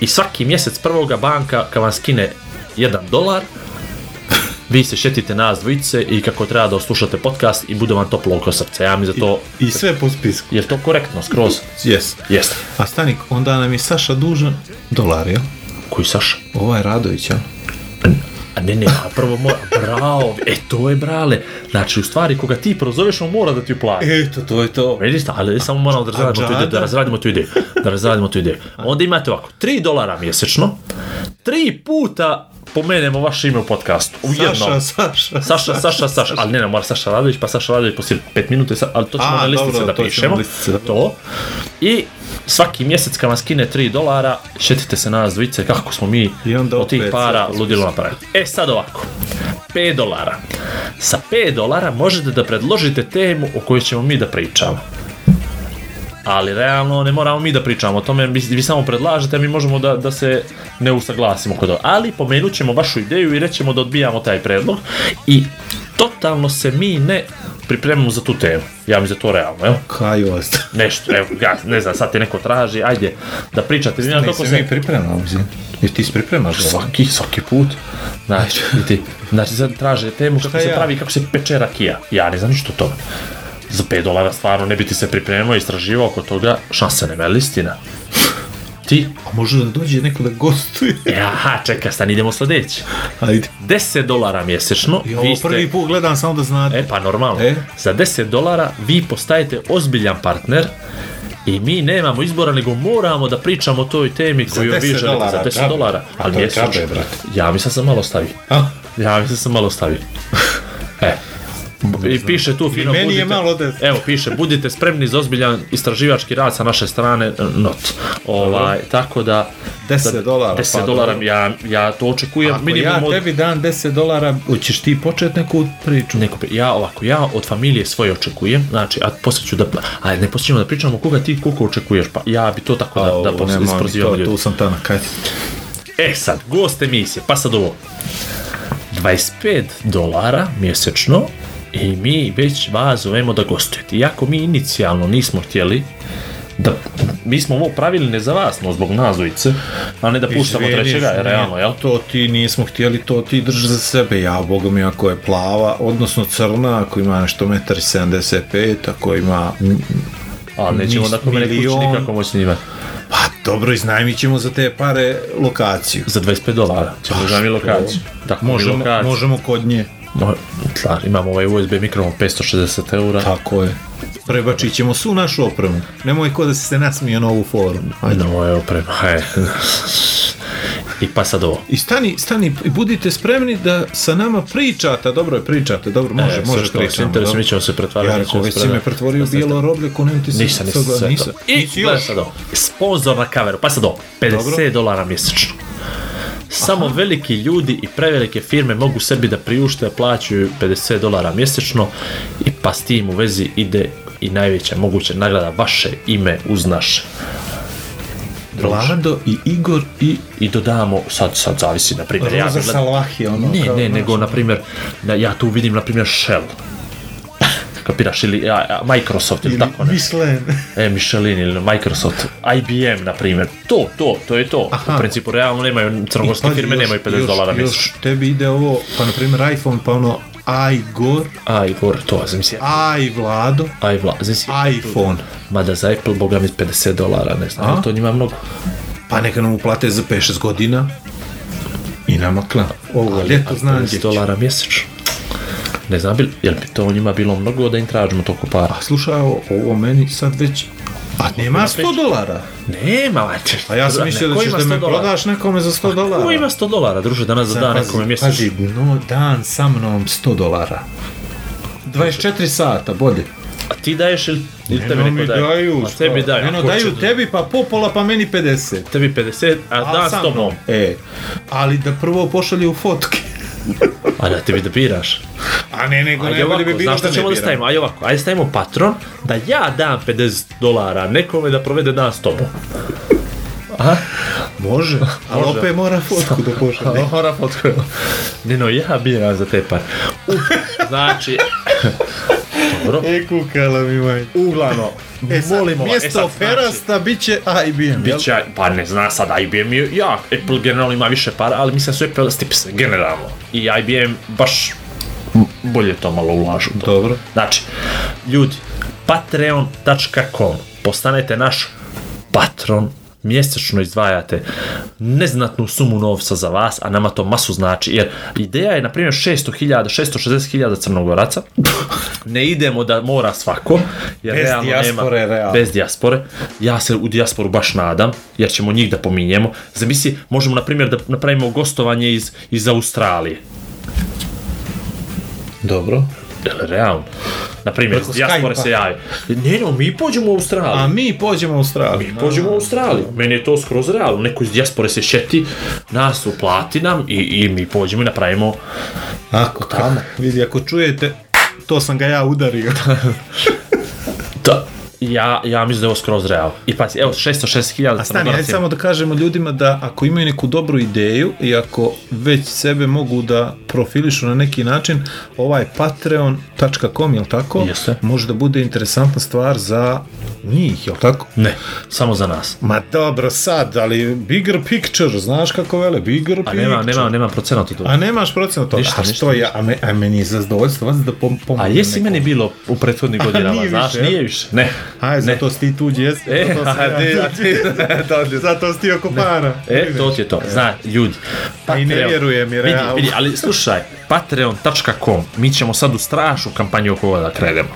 Speaker 4: i svaki mjesec prvoga banka kad vam skine 1 dolar, vi se šetite nas dvojice i kako treba da oslušate podcast i bude vam toplo oko srca. Ja mi za to...
Speaker 3: I sve po spisku.
Speaker 4: Je to korektno skroz?
Speaker 3: Jes.
Speaker 4: Jeste.
Speaker 3: A stanik, onda nam je Saša dužan dolar, jel?
Speaker 4: Koji Saša?
Speaker 3: Ovo je Radović, jel?
Speaker 4: A ne, ne, a prvo mora, bravo, e to je brale. Znači, u stvari, koga ti prozoveš, on mora da ti plati.
Speaker 3: Eto, to je to.
Speaker 4: Vidiš, ali samo moramo da razradimo tu ideju, da razradimo tu ideju, da razradimo tu ideju. Onda imate ovako, 3 dolara mjesečno, tri puta pomenemo vaše ime u podcastu. U
Speaker 3: Saša,
Speaker 4: jednom.
Speaker 3: Saša.
Speaker 4: Saša, Saša, Saša, ali ne, ne, mora Saša Radović, pa Saša Radović poslije 5 minuta, i sa- ali to ćemo
Speaker 3: A,
Speaker 4: na listice
Speaker 3: dobro,
Speaker 4: da
Speaker 3: to ćemo
Speaker 4: pišemo.
Speaker 3: na listice da-
Speaker 4: To. I svaki mjesec kad vam skine 3 dolara, šetite se nas dvojice kako smo mi
Speaker 3: I onda
Speaker 4: od tih
Speaker 3: opet
Speaker 4: para
Speaker 3: sve
Speaker 4: ludilo napravili. E sad ovako, 5 dolara. Sa 5 dolara možete da predložite temu o kojoj ćemo mi da pričamo. Ali realno ne moramo mi da pričamo o tome, vi, vi samo predlažete, a mi možemo da, da se ne usaglasimo kod toga. Ali pomenut ćemo vašu ideju i rećemo da odbijamo taj predlog i totalno se mi ne pripremamo za tu temu. Ja mi za to realno, jel?
Speaker 3: Kaj osta.
Speaker 4: Nešto, evo, ja ne znam, sad te neko traži, ajde, da pričate. Ne,
Speaker 3: Ne, se mi pripremamo, mislim. Jer ti se pripremaš za ovo.
Speaker 4: Svaki, svaki put. Znači, i ti, znači sad traže temu kako
Speaker 3: Šta
Speaker 4: se
Speaker 3: ja?
Speaker 4: pravi, kako se peče rakija. Ja ne znam ništa o tome. Za 5 dolara stvarno ne bi ti se pripremao, istraživao oko toga, šanse nema, jel istina? Ti?
Speaker 3: A može da dođe neko da gostuje.
Speaker 4: E, aha, čekaj, stan, idemo sljedeći.
Speaker 3: Ajde.
Speaker 4: 10 dolara mjesečno,
Speaker 3: I ovo prvi put gledam samo da znate.
Speaker 4: E pa normalno.
Speaker 3: E?
Speaker 4: Za 10 dolara vi postajete ozbiljan partner i mi nemamo izbora nego moramo da pričamo o toj temi koju vi
Speaker 3: 10
Speaker 4: želite
Speaker 3: dolara,
Speaker 4: za 10
Speaker 3: džabe.
Speaker 4: dolara.
Speaker 3: A
Speaker 4: Ali
Speaker 3: to je
Speaker 4: mjesečno.
Speaker 3: džabe, brate.
Speaker 4: Ja mislim da sam malo stavi.
Speaker 3: A?
Speaker 4: Ja mislim da sam malo stavi. e. I piše tu fino
Speaker 3: meni je
Speaker 4: budite,
Speaker 3: malo des.
Speaker 4: Evo piše budite spremni za ozbiljan istraživački rad sa naše strane eh, not. Ovaj tako da
Speaker 3: 10
Speaker 4: da-
Speaker 3: dolara,
Speaker 4: 10
Speaker 3: pa
Speaker 4: dolara
Speaker 3: dobro.
Speaker 4: ja ja to očekujem
Speaker 3: Ako
Speaker 4: minimum
Speaker 3: ja
Speaker 4: od
Speaker 3: tebi dam 10 dolara, hoćeš ti počet neku priču?
Speaker 4: neko pri- ja ovako ja od familije svoje očekujem znači a posle ću da ajde ne počnemo da pričamo koga ti koliko očekuješ pa ja bi to tako da pa da posle isprozivam
Speaker 3: Tu
Speaker 4: ljudi
Speaker 3: sam tamo, kaj?
Speaker 4: e sad gost emisije pa sad ovo 25 dolara mjesečno i mi već vas zovemo da gostujete iako mi inicijalno nismo htjeli da mi smo ovo pravili ne za vas no zbog nas dvojice a ne da puštamo
Speaker 3: Izvini,
Speaker 4: trećega
Speaker 3: ne,
Speaker 4: jer realno jel
Speaker 3: To ti nismo htjeli, to ti drži za sebe. Ja, boga mi, ako je plava, odnosno crna, ako ima nešto 1,75 m, ako ima... mm,
Speaker 4: ali nećemo
Speaker 3: Nis-
Speaker 4: da kome ne kući
Speaker 3: milion.
Speaker 4: nikako moći s njima
Speaker 3: Pa dobro, iznajmit ćemo za te pare lokaciju.
Speaker 4: za 25 dolara ćemo da mi lokaciju tako
Speaker 3: Možemo,
Speaker 4: lokaciju.
Speaker 3: možemo kod nje.
Speaker 4: Mo- Klar, imamo ovaj USB mikrofon 560 eura.
Speaker 3: Tako je. Prebačit ćemo svu našu opremu. Nemoj ko da si se nasmio na ovu foru. Ajde.
Speaker 4: Na moje oprema. e. I pa sad ovo.
Speaker 3: I stani, stani, i budite spremni da sa nama pričate, dobro je pričate, dobro, može,
Speaker 4: E, sve
Speaker 3: može
Speaker 4: što vas
Speaker 3: pričamo.
Speaker 4: interesuje,
Speaker 3: dobro.
Speaker 4: mi ćemo se pretvarati.
Speaker 3: Ja
Speaker 4: mi ćemo
Speaker 3: rekao,
Speaker 4: se
Speaker 3: već si me
Speaker 4: pretvarati.
Speaker 3: pretvorio u bijelo roblje, ko nemam ti se
Speaker 4: Nisam, nisam,
Speaker 3: toga,
Speaker 4: sve to.
Speaker 3: nisam.
Speaker 4: I
Speaker 3: Nisi
Speaker 4: gledaj sad ovo. Sponzor na kameru. Pa sad ovo. 50
Speaker 3: Dobro.
Speaker 4: dolara mjesečno. Samo veliki ljudi i prevelike firme mogu sebi da priušte, plaćaju 50 dolara mjesečno i pa s tim u vezi ide i najveća moguća nagrada vaše ime uz naše.
Speaker 3: Vlado i Igor i...
Speaker 4: i dodamo, sad, sad zavisi, na primjer, ja
Speaker 3: Roza
Speaker 4: gledam,
Speaker 3: Salvahi, ono,
Speaker 4: ne,
Speaker 3: kao,
Speaker 4: ne,
Speaker 3: znaš.
Speaker 4: nego, na primjer, na, ja tu vidim, na primjer, Shell, kapiraš, ili a, a, Microsoft, ili, tako ne,
Speaker 3: Michelin.
Speaker 4: e, Michelin, ili Microsoft, IBM, na primjer, to, to, to je to, u principu, realno nemaju, crnogorske
Speaker 3: Pazi,
Speaker 4: firme
Speaker 3: Pa još-
Speaker 4: nemaju 50
Speaker 3: još-
Speaker 4: dolara
Speaker 3: Još
Speaker 4: mjesečno,
Speaker 3: tebi ide ovo, pa na primjer iPhone, pa ono, aj Igor,
Speaker 4: a, Igor, to, znam si,
Speaker 3: aj Vlado,
Speaker 4: aj, vla, znam si,
Speaker 3: iPhone.
Speaker 4: mada za Apple, boga mi, 50 dolara, ne znam, ali to njima mnogo,
Speaker 3: Pa neka nam uplate za 5-6 godina. I nama klan. Ovo ljeto znam gdje ću.
Speaker 4: 50 dolara mjesečno, ne znam, bil- jel bi to njima bilo mnogo da im tražimo toliko para?
Speaker 3: A slušaj, ovo, ovo meni sad već... A nema 100 dolara.
Speaker 4: Nema, mate.
Speaker 3: A ja sam mislio da ćeš da me prodaš nekome za 100 dolara.
Speaker 4: Pa Ko ima 100 dolara, druže, danas za dan nekome mjesečno?
Speaker 3: Pazi, no, dan sa mnom 100 dolara. 24 sata, bolje.
Speaker 4: A ti daješ ili, ili tebi neko daje? a
Speaker 3: šta?
Speaker 4: tebi daju.
Speaker 3: Eno,
Speaker 4: Ko će
Speaker 3: daju
Speaker 4: da-
Speaker 3: tebi pa popola pa meni 50.
Speaker 4: Tebi 50, a dan
Speaker 3: sa
Speaker 4: 100
Speaker 3: mnom.
Speaker 4: mom.
Speaker 3: E, ali da prvo pošalju fotke.
Speaker 4: A da tebi da biraš.
Speaker 3: A ne, nego
Speaker 4: Ajde
Speaker 3: najbolje
Speaker 4: ovako,
Speaker 3: bi bilo
Speaker 4: znaš
Speaker 3: da
Speaker 4: šta
Speaker 3: ne
Speaker 4: ćemo da
Speaker 3: biram.
Speaker 4: stavimo? Ajde ovako, ajde stavimo patron da ja dam 50 dolara nekome da provede dan s tobom.
Speaker 3: Može, ali
Speaker 4: Može.
Speaker 3: opet mora fotku da pošalje.
Speaker 4: Mora potkrilo. Ne no, ja biram za te par. Uf, znači... Dobro.
Speaker 3: E, kukala mi majka.
Speaker 4: Uglavnom,
Speaker 3: E, sad,
Speaker 4: molimo vas. E,
Speaker 3: mjesto
Speaker 4: sad, znači-
Speaker 3: Ferasta bit će IBM, jel?
Speaker 4: Biće, pa ne zna sad, IBM je jak, Apple generalno ima više para, ali mislim da su Apple stips, generalno. I IBM baš m- bolje to malo ulažu. u To.
Speaker 3: Dobro.
Speaker 4: Znači, ljudi, patreon.com, postanete naš patron, mjesečno izdvajate neznatnu sumu novca za vas, a nama to masu znači, jer ideja je, na primjer, 600.000, 660.000 crnogoraca, ne idemo da mora svako, jer
Speaker 3: Bez
Speaker 4: realno
Speaker 3: dijaspore,
Speaker 4: nema,
Speaker 3: realno.
Speaker 4: bez dijaspore. Ja se u dijasporu baš nadam, jer ćemo njih da pominjemo. Zamisli, možemo, na primjer, da napravimo gostovanje iz, iz Australije.
Speaker 3: Dobro.
Speaker 4: Jel, realno. Na primjer,
Speaker 3: Preko
Speaker 4: iz dijaspore
Speaker 3: Skype-a.
Speaker 4: se javi. Ne, no, mi pođemo u Australiju.
Speaker 3: A mi pođemo u Australiju.
Speaker 4: Pođemo u Australiju. Meni je to skroz realno. Neko iz dijaspore se šeti, nas uplati nam i, i mi pođemo i napravimo
Speaker 3: Ako,
Speaker 4: tamo.
Speaker 3: vidi, ako čujete, to sam ga ja udario.
Speaker 4: Da. Ja, ja mislim da je ovo skroz realno. I pazi, evo, 606.000
Speaker 3: A stani, ajde
Speaker 4: fotografija.
Speaker 3: samo da kažemo ljudima da ako imaju neku dobru ideju i ako već sebe mogu da profilišu na neki način, ovaj patreon.com, jel tako?
Speaker 4: Jeste.
Speaker 3: Može da bude interesantna stvar za njih, jel tako?
Speaker 4: Ne, samo za nas.
Speaker 3: Ma dobro sad, ali bigger picture, znaš kako vele, bigger
Speaker 4: A
Speaker 3: picture.
Speaker 4: nema, nema, nema procenata toga.
Speaker 3: A nemaš procena toga.
Speaker 4: Ništa,
Speaker 3: a
Speaker 4: ništa,
Speaker 3: što ja, a, me, a meni je za zadovoljstvo vas da pom,
Speaker 4: A
Speaker 3: pomognem
Speaker 4: jesi
Speaker 3: nekom.
Speaker 4: meni bilo u prethodnih godinama,
Speaker 3: nije
Speaker 4: znaš,
Speaker 3: više, jel?
Speaker 4: nije više. Ne.
Speaker 3: Aj, zato si ti tuđi, jesi.
Speaker 4: E,
Speaker 3: zato, sam
Speaker 4: a ti,
Speaker 3: ja,
Speaker 4: a ti,
Speaker 3: tuđi, zato si ti oko para.
Speaker 4: E, to ti je to. Zna, ljudi.
Speaker 3: Pa i ne vjerujem, jer
Speaker 4: vidi,
Speaker 3: ja-
Speaker 4: vidi, ali slušaj, patreon.com, mi ćemo sad u strašnu kampanju oko ovoga da krenemo.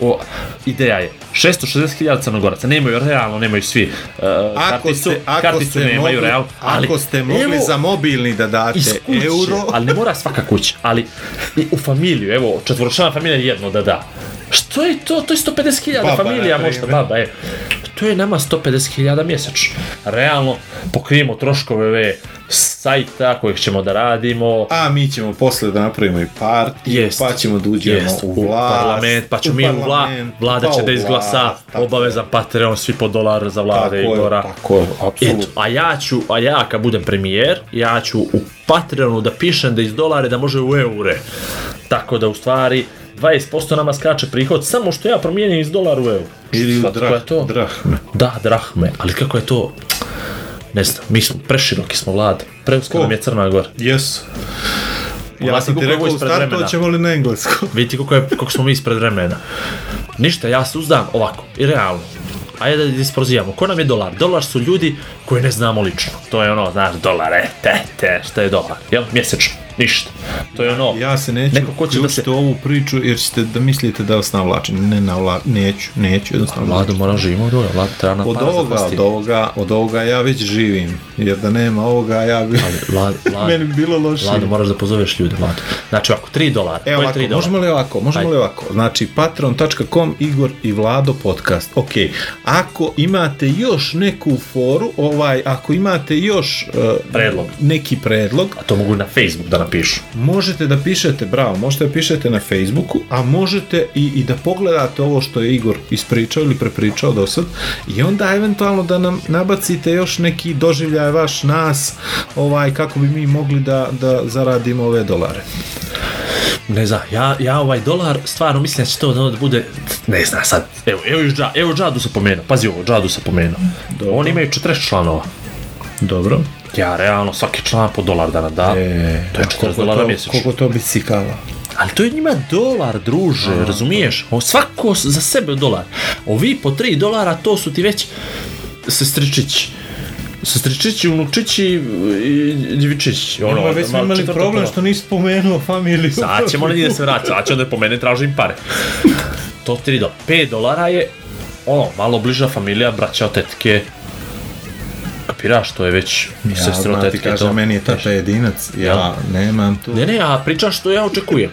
Speaker 4: O, ideja je, 660.000 crnogoraca, nemaju realno, nemaju svi uh,
Speaker 3: Ako
Speaker 4: karticu,
Speaker 3: ste, ako
Speaker 4: karticu
Speaker 3: ste
Speaker 4: nemaju
Speaker 3: mogli,
Speaker 4: realno, ali
Speaker 3: ako ste mogli
Speaker 4: evo,
Speaker 3: za mobilni da date
Speaker 4: iz kuće,
Speaker 3: euro,
Speaker 4: ali ne mora svaka kuća, ali i u familiju, evo, četvoročlana familija jedno da da. Što je to? To je 150.000
Speaker 3: Baba,
Speaker 4: familija
Speaker 3: na primjer.
Speaker 4: možda, baba, e. To je nama 150.000 mjesečno. Realno, pokrijemo troškove ove sajta kojeg ćemo da radimo,
Speaker 3: a mi ćemo posle da napravimo i partiju,
Speaker 4: Jest.
Speaker 3: pa ćemo da uđemo
Speaker 4: Jest,
Speaker 3: u vlast,
Speaker 4: parlament, pa ćemo mi u vla,
Speaker 3: parlament,
Speaker 4: vlada
Speaker 3: pa
Speaker 4: će
Speaker 3: u
Speaker 4: da izglasa
Speaker 3: vlast, tako
Speaker 4: obavezan Patreon, svi po dolar za
Speaker 3: Tako
Speaker 4: vlade
Speaker 3: je,
Speaker 4: i gora.
Speaker 3: Tako je, apsolutno.
Speaker 4: Eto, a ja ću, a ja kad budem premijer, ja ću u Patreonu da pišem da iz dolare da može u eure. Tako da u stvari 20% nama skače prihod samo što ja promijenim iz dolara u euro.
Speaker 3: Ili u
Speaker 4: Sad, koja je to?
Speaker 3: drah, drahme.
Speaker 4: Da, drahme, ali kako je to? Ne znam, mi smo preširoki smo vlada. Preuska
Speaker 3: Ko?
Speaker 4: nam je Crna Gora.
Speaker 3: Yes. Ja
Speaker 4: Vlasi
Speaker 3: sam ti
Speaker 4: Kuković
Speaker 3: rekao u
Speaker 4: ispred
Speaker 3: startu,
Speaker 4: vremena.
Speaker 3: hoćemo li na englesku?
Speaker 4: Vidite kako, je, kako smo mi ispred vremena. Ništa, ja se uzdam ovako, i realno. Ajde da disprozijamo. Ko nam je dolar? Dolar su ljudi koje ne znamo lično. To je ono, znaš, dolare, te, te, šta je dolar? Jel? Mjesečno. Ništa. To je ono,
Speaker 3: Ja se neću
Speaker 4: Neko ko će da se-
Speaker 3: uključiti u ovu priču jer ćete da mislite da vas navlačim. Ne navlačim, neću, neću jednostavno.
Speaker 4: Vladu mora živimo dole, Vladu treba nam
Speaker 3: Od
Speaker 4: para
Speaker 3: ovoga,
Speaker 4: za
Speaker 3: od ovoga, od ovoga ja već živim, jer da nema ovoga ja bi,
Speaker 4: Vladu,
Speaker 3: meni
Speaker 4: Vladu,
Speaker 3: bi bilo loše.
Speaker 4: Vladu, moraš da pozoveš ljude, Vladu. Znači ovako, 3 dolara.
Speaker 3: Evo
Speaker 4: to je
Speaker 3: E, ovako,
Speaker 4: 3 dolara.
Speaker 3: možemo li ovako, možemo
Speaker 4: Ajde.
Speaker 3: li ovako, znači patron.com Igor i Vlado podcast, ok, ako imate još neku foru, ovaj, ako imate još eh,
Speaker 4: Predlog.
Speaker 3: neki predlog,
Speaker 4: A to mogu na Facebook da napišu.
Speaker 3: možete da pišete, bravo, možete da pišete na Facebooku, a možete i, i da pogledate ovo što je Igor ispričao ili prepričao do sad i onda eventualno da nam nabacite još neki doživljaj vaš nas, ovaj, kako bi mi mogli da, da zaradimo ove dolare.
Speaker 4: Ne znam, ja, ja ovaj dolar stvarno mislim da će to da onda bude, ne znam sad, evo, evo, još, Dža- evo Džadu se pomenuo, pazi ovo, Džadu se pomenuo.
Speaker 3: Dobro.
Speaker 4: Oni imaju 40 članova.
Speaker 3: Dobro.
Speaker 4: Ja realno svaki član po dolar da nam da,
Speaker 3: E,
Speaker 4: to je 40 dolara mjesečno.
Speaker 3: Koliko to bicikala?
Speaker 4: Ali to je njima dolar, druže, razumiješ? O, svako s- za sebe dolar. Ovi po 3 dolara, to su ti već sestričići. Sestričići, unučići i djevičići. Ono,
Speaker 3: Ono, već smo
Speaker 4: malo
Speaker 3: imali
Speaker 4: četvrto
Speaker 3: problem
Speaker 4: pola.
Speaker 3: što nisi spomenuo familiju.
Speaker 4: Sad ćemo negdje da se vrati, sad će onda po mene tražim pare. To 3 do 5 dolara je ono, malo bliža familija, braća, tetke. Kapiraš, to je već ja,
Speaker 3: Ja,
Speaker 4: sestrino
Speaker 3: znam ti
Speaker 4: tetke.
Speaker 3: kažem,
Speaker 4: to.
Speaker 3: meni je tata jedinac, ja
Speaker 4: Ja.
Speaker 3: nemam tu.
Speaker 4: Ne, ne, ja pričam što ja očekujem.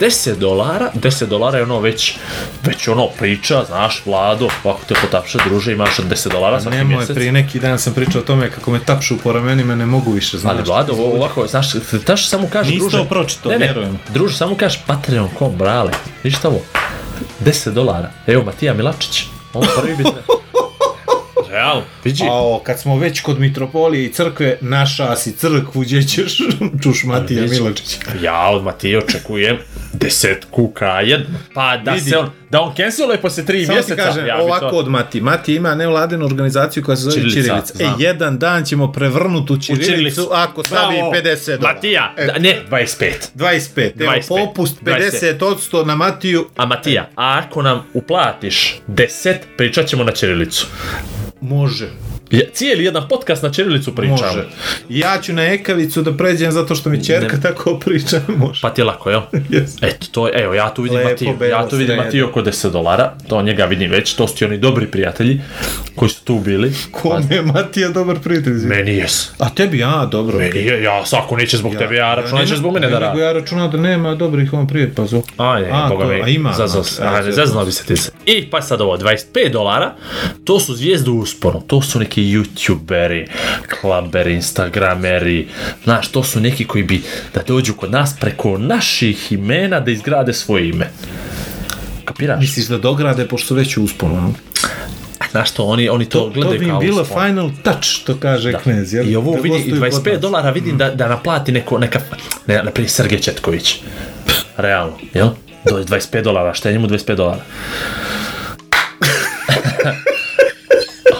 Speaker 4: 10 dolara, 10 dolara je ono već, već ono priča, znaš, Vlado, ovako te potapše, druže, imaš 10 dolara svaki
Speaker 3: Nemoj,
Speaker 4: mjesec.
Speaker 3: prije neki dan sam pričao o tome kako me tapšu po ramenima, ne mogu više, znaš.
Speaker 4: Ali Vlado, ovo ovako, znaš, taš samo kaže,
Speaker 3: Nisi
Speaker 4: druže...
Speaker 3: to pročitao,
Speaker 4: ne, ne,
Speaker 3: vjerujem.
Speaker 4: druže, samo kaže patreon.com, brale, ništa ovo, 10 dolara, evo Matija Milačić, on prvi bi trebao. Realno, vidi,
Speaker 3: Ao, kad smo već kod mitropolije i crkve, naša si crkvu, gdje ćeš čuš Matija
Speaker 4: Ali vidi.
Speaker 3: Milačić.
Speaker 4: ja od Matije očekujem desetku K1, pa da
Speaker 3: Vidi.
Speaker 4: se on, da on canceluje posle 3
Speaker 3: Samo
Speaker 4: mjeseca,
Speaker 3: ti kažem,
Speaker 4: ja bi
Speaker 3: ovako
Speaker 4: to...
Speaker 3: od Mati. Mati ima nevladenu organizaciju koja se zove
Speaker 4: Ćirilica,
Speaker 3: Čirilica. E,
Speaker 4: znam.
Speaker 3: jedan dan ćemo prevrnuti u
Speaker 4: Čirilicu.
Speaker 3: Čirilicu, ako stavi
Speaker 4: Bravo,
Speaker 3: 50 dolara.
Speaker 4: Matija,
Speaker 3: E,
Speaker 4: da, ne, 25.
Speaker 3: 25, evo
Speaker 4: 25,
Speaker 3: popust
Speaker 4: 50.
Speaker 3: 50% na Matiju,
Speaker 4: A Matija, a ako nam uplatiš 10, pričat ćemo na Čirilicu.
Speaker 3: može,
Speaker 4: Ja, cijeli jedan podcast na Čirilicu pričamo.
Speaker 3: može. Ja ću na Ekavicu da pređem zato što mi čerka
Speaker 4: Ne.
Speaker 3: tako priča, može.
Speaker 4: Pa ti je lako, jel?
Speaker 3: Yes.
Speaker 4: Eto, to je, evo, ja tu vidim
Speaker 3: Lepo,
Speaker 4: Matiju,
Speaker 3: belo,
Speaker 4: ja tu vidim
Speaker 3: sredo.
Speaker 4: Matiju oko 10 dolara, to njega vidim već, to su ti oni dobri prijatelji koji su tu bili.
Speaker 3: Kome je Matija dobar prijatelj? izvini?
Speaker 4: Meni jes.
Speaker 3: A tebi, ja, dobro.
Speaker 4: Meni je, ja, svako neće zbog tebe, ja računam neće
Speaker 3: nemam-
Speaker 4: zbog mene da
Speaker 3: Nego
Speaker 4: radi.
Speaker 3: ja računam da nema dobrih on prije, pa zbog.
Speaker 4: A ne,
Speaker 3: A,
Speaker 4: boga
Speaker 3: to,
Speaker 4: mi.
Speaker 3: a ima,
Speaker 4: Zazvao se,
Speaker 3: znači,
Speaker 4: a ne,
Speaker 3: znači.
Speaker 4: zaznao bi se ti se. I pa sad ovo, 25 dolara, to su zvijezde u usponu, to su neki neki youtuberi, klamberi, instagrameri, znaš, to su neki koji bi da dođu kod nas preko naših imena da izgrade svoje ime. Kapiraš?
Speaker 3: Misliš da dograde, pošto su već u usponu. no?
Speaker 4: Znaš što, oni, oni to,
Speaker 3: To, to
Speaker 4: gledaju
Speaker 3: bi im
Speaker 4: kao
Speaker 3: bilo
Speaker 4: uspon.
Speaker 3: final touch, što
Speaker 4: Да.
Speaker 3: kaže da. Knez. Jel?
Speaker 4: I ovo
Speaker 3: Da Mm.
Speaker 4: vidi, i
Speaker 3: gostuju kod
Speaker 4: 25
Speaker 3: nas.
Speaker 4: dolara vidim da, da naplati neko, neka, ne, naprijed Sergej Četković. Realno, jel? Do 25 dolara, šta je njemu 25 dolara?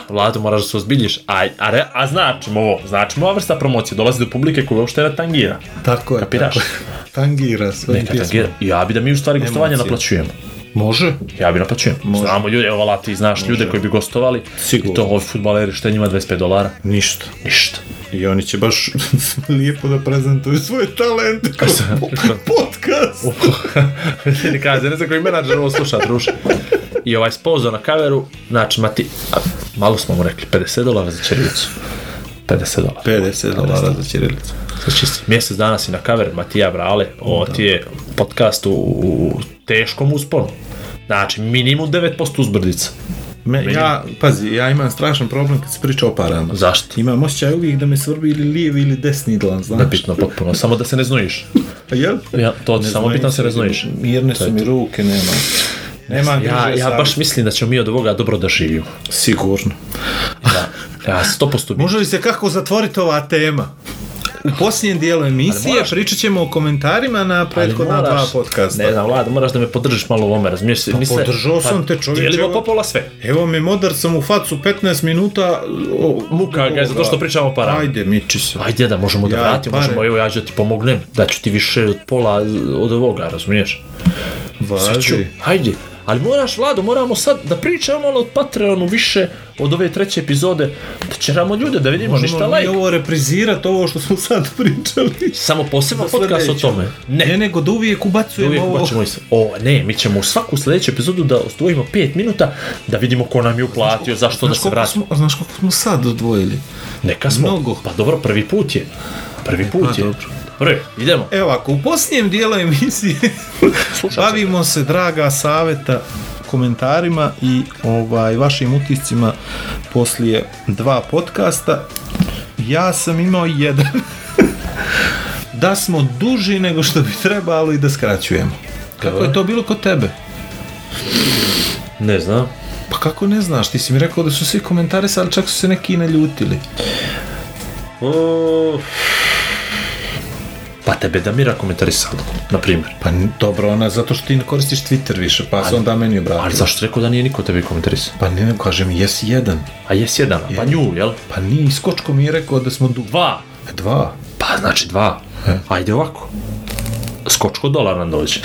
Speaker 4: Vlado, moraš da se ozbiljiš. A, a, re, a znači mu ovo, znači mu ova vrsta promocije, dolazi do publike koju uopšte ne tangira.
Speaker 3: Tako je.
Speaker 4: Kapiraš?
Speaker 3: Tako. je. Tangira svojim
Speaker 4: Neka
Speaker 3: pjesmom.
Speaker 4: tangira. Ja bi da mi u stvari gostovanje
Speaker 3: Emocije.
Speaker 4: naplaćujemo.
Speaker 3: Može?
Speaker 4: Ja bi naplaćujem. Znamo ljude, evo Vala, ti znaš ljude koji bi gostovali.
Speaker 3: Sigurno.
Speaker 4: I to ovi futbaleri, šta je njima 25 dolara?
Speaker 3: Ništa.
Speaker 4: Ništa.
Speaker 3: I oni će baš lijepo da prezentuju svoje talente kroz po- podcast.
Speaker 4: Ti kaže, ne znam koji menadžer ovo sluša, druže. I ovaj spozor na kaveru, znači, mati, a, malo smo mu rekli, 50 dolara za červicu. 50 dolara.
Speaker 3: 50 dolara za Čirilicu.
Speaker 4: Sad čisti. Mjesec dana si na kaver, Matija Brale, ovo ti je podcast u, u teškom usponu. Znači, minimum 9% uzbrdica.
Speaker 3: Me, ja, pazi, ja imam strašan problem kad se priča o parama.
Speaker 4: Zašto?
Speaker 3: Imam osjećaj uvijek da me svrbi ili lijevi ili desni dlan, znaš.
Speaker 4: Bitno potpuno, samo da se ne znojiš.
Speaker 3: A Jel?
Speaker 4: Ja, to ti samo bitno da se ne znojiš.
Speaker 3: Mirne su mi ruke, nema. Nema
Speaker 4: Ja,
Speaker 3: griže
Speaker 4: ja
Speaker 3: savjesti.
Speaker 4: baš mislim da ćemo mi od ovoga dobro da živimo.
Speaker 3: Sigurno.
Speaker 4: Ja, ja 100% bi.
Speaker 3: Može li se kako zatvoriti ova tema? U posljednjem dijelu emisije
Speaker 4: Ali moraš-
Speaker 3: pričat ćemo o komentarima na prethodna
Speaker 4: moraš-
Speaker 3: dva podcasta.
Speaker 4: Ne znam, Vlada, moraš da me podržiš malo u ovome, razumiješ? se? Mi se- pa
Speaker 3: podržao sam te, čovječe,
Speaker 4: Dijelimo
Speaker 3: evo.
Speaker 4: popola sve.
Speaker 3: Evo me modar sam u facu 15 minuta. O,
Speaker 4: Muka ga je zato što pričamo o parama. Pa,
Speaker 3: Ajde, miči se.
Speaker 4: Ajde da možemo da
Speaker 3: Ja,
Speaker 4: vratimo,
Speaker 3: pare.
Speaker 4: možemo, evo ja ću da ti pomognem, da ću ti više od pola od ovoga, razumiješ? Sad ću,
Speaker 3: Važi.
Speaker 4: ajde. Ali moraš, Vlado, moramo sad da pričamo malo od Patreonu više od ove treće epizode, da čeramo ljude, da vidimo ništa
Speaker 3: Možemo mi
Speaker 4: like.
Speaker 3: ovo reprizirat, ovo što smo sad pričali.
Speaker 4: Samo poseban
Speaker 3: Za
Speaker 4: podcast o
Speaker 3: sljedeću.
Speaker 4: tome. Ne,
Speaker 3: Ne, nego da uvijek ubacujemo
Speaker 4: uvijek
Speaker 3: ovo.
Speaker 4: bačemo iz... O, ne, mi ćemo u svaku sljedeću epizodu da ostvojimo 5 minuta da vidimo ko nam je uplatio, zašto da
Speaker 3: Znaš
Speaker 4: se
Speaker 3: koliko
Speaker 4: vratimo.
Speaker 3: smo, a znaš koliko smo sad odvojili?
Speaker 4: Neka smo.
Speaker 3: Mnogo.
Speaker 4: Pa dobro, prvi put je. Prvi put je.
Speaker 3: dobro. E.
Speaker 4: Prvi, idemo.
Speaker 3: Evo ako, u posljednjem dijelu emisije
Speaker 4: Slušaj.
Speaker 3: bavimo se, draga saveta, komentarima i ovaj vašim utiscima poslije dva podcasta. Ja sam imao jedan da smo duži nego što bi trebalo i da skraćujemo. Kako je to bilo kod tebe?
Speaker 4: Ne znam.
Speaker 3: Pa kako ne znaš, ti si mi rekao da su svi komentarisali, čak su se neki i naljutili.
Speaker 4: Uf. Pa tebe Damira komentarisala, na primjer.
Speaker 3: Pa n- dobro, ona, zato što ti ne koristiš Twitter više, pa se onda meni obratila.
Speaker 4: Ali zašto rekao da nije niko tebi komentarisao?
Speaker 3: Pa ne, ne kažem, jes jedan.
Speaker 4: A jes jedan, pa nju, jel?
Speaker 3: Pa ni, skočko mi je rekao da smo du...
Speaker 4: Dva.
Speaker 3: E, Dva.
Speaker 4: Pa znači dva.
Speaker 3: E.
Speaker 4: Ajde ovako. Skočko dolar nam dođe.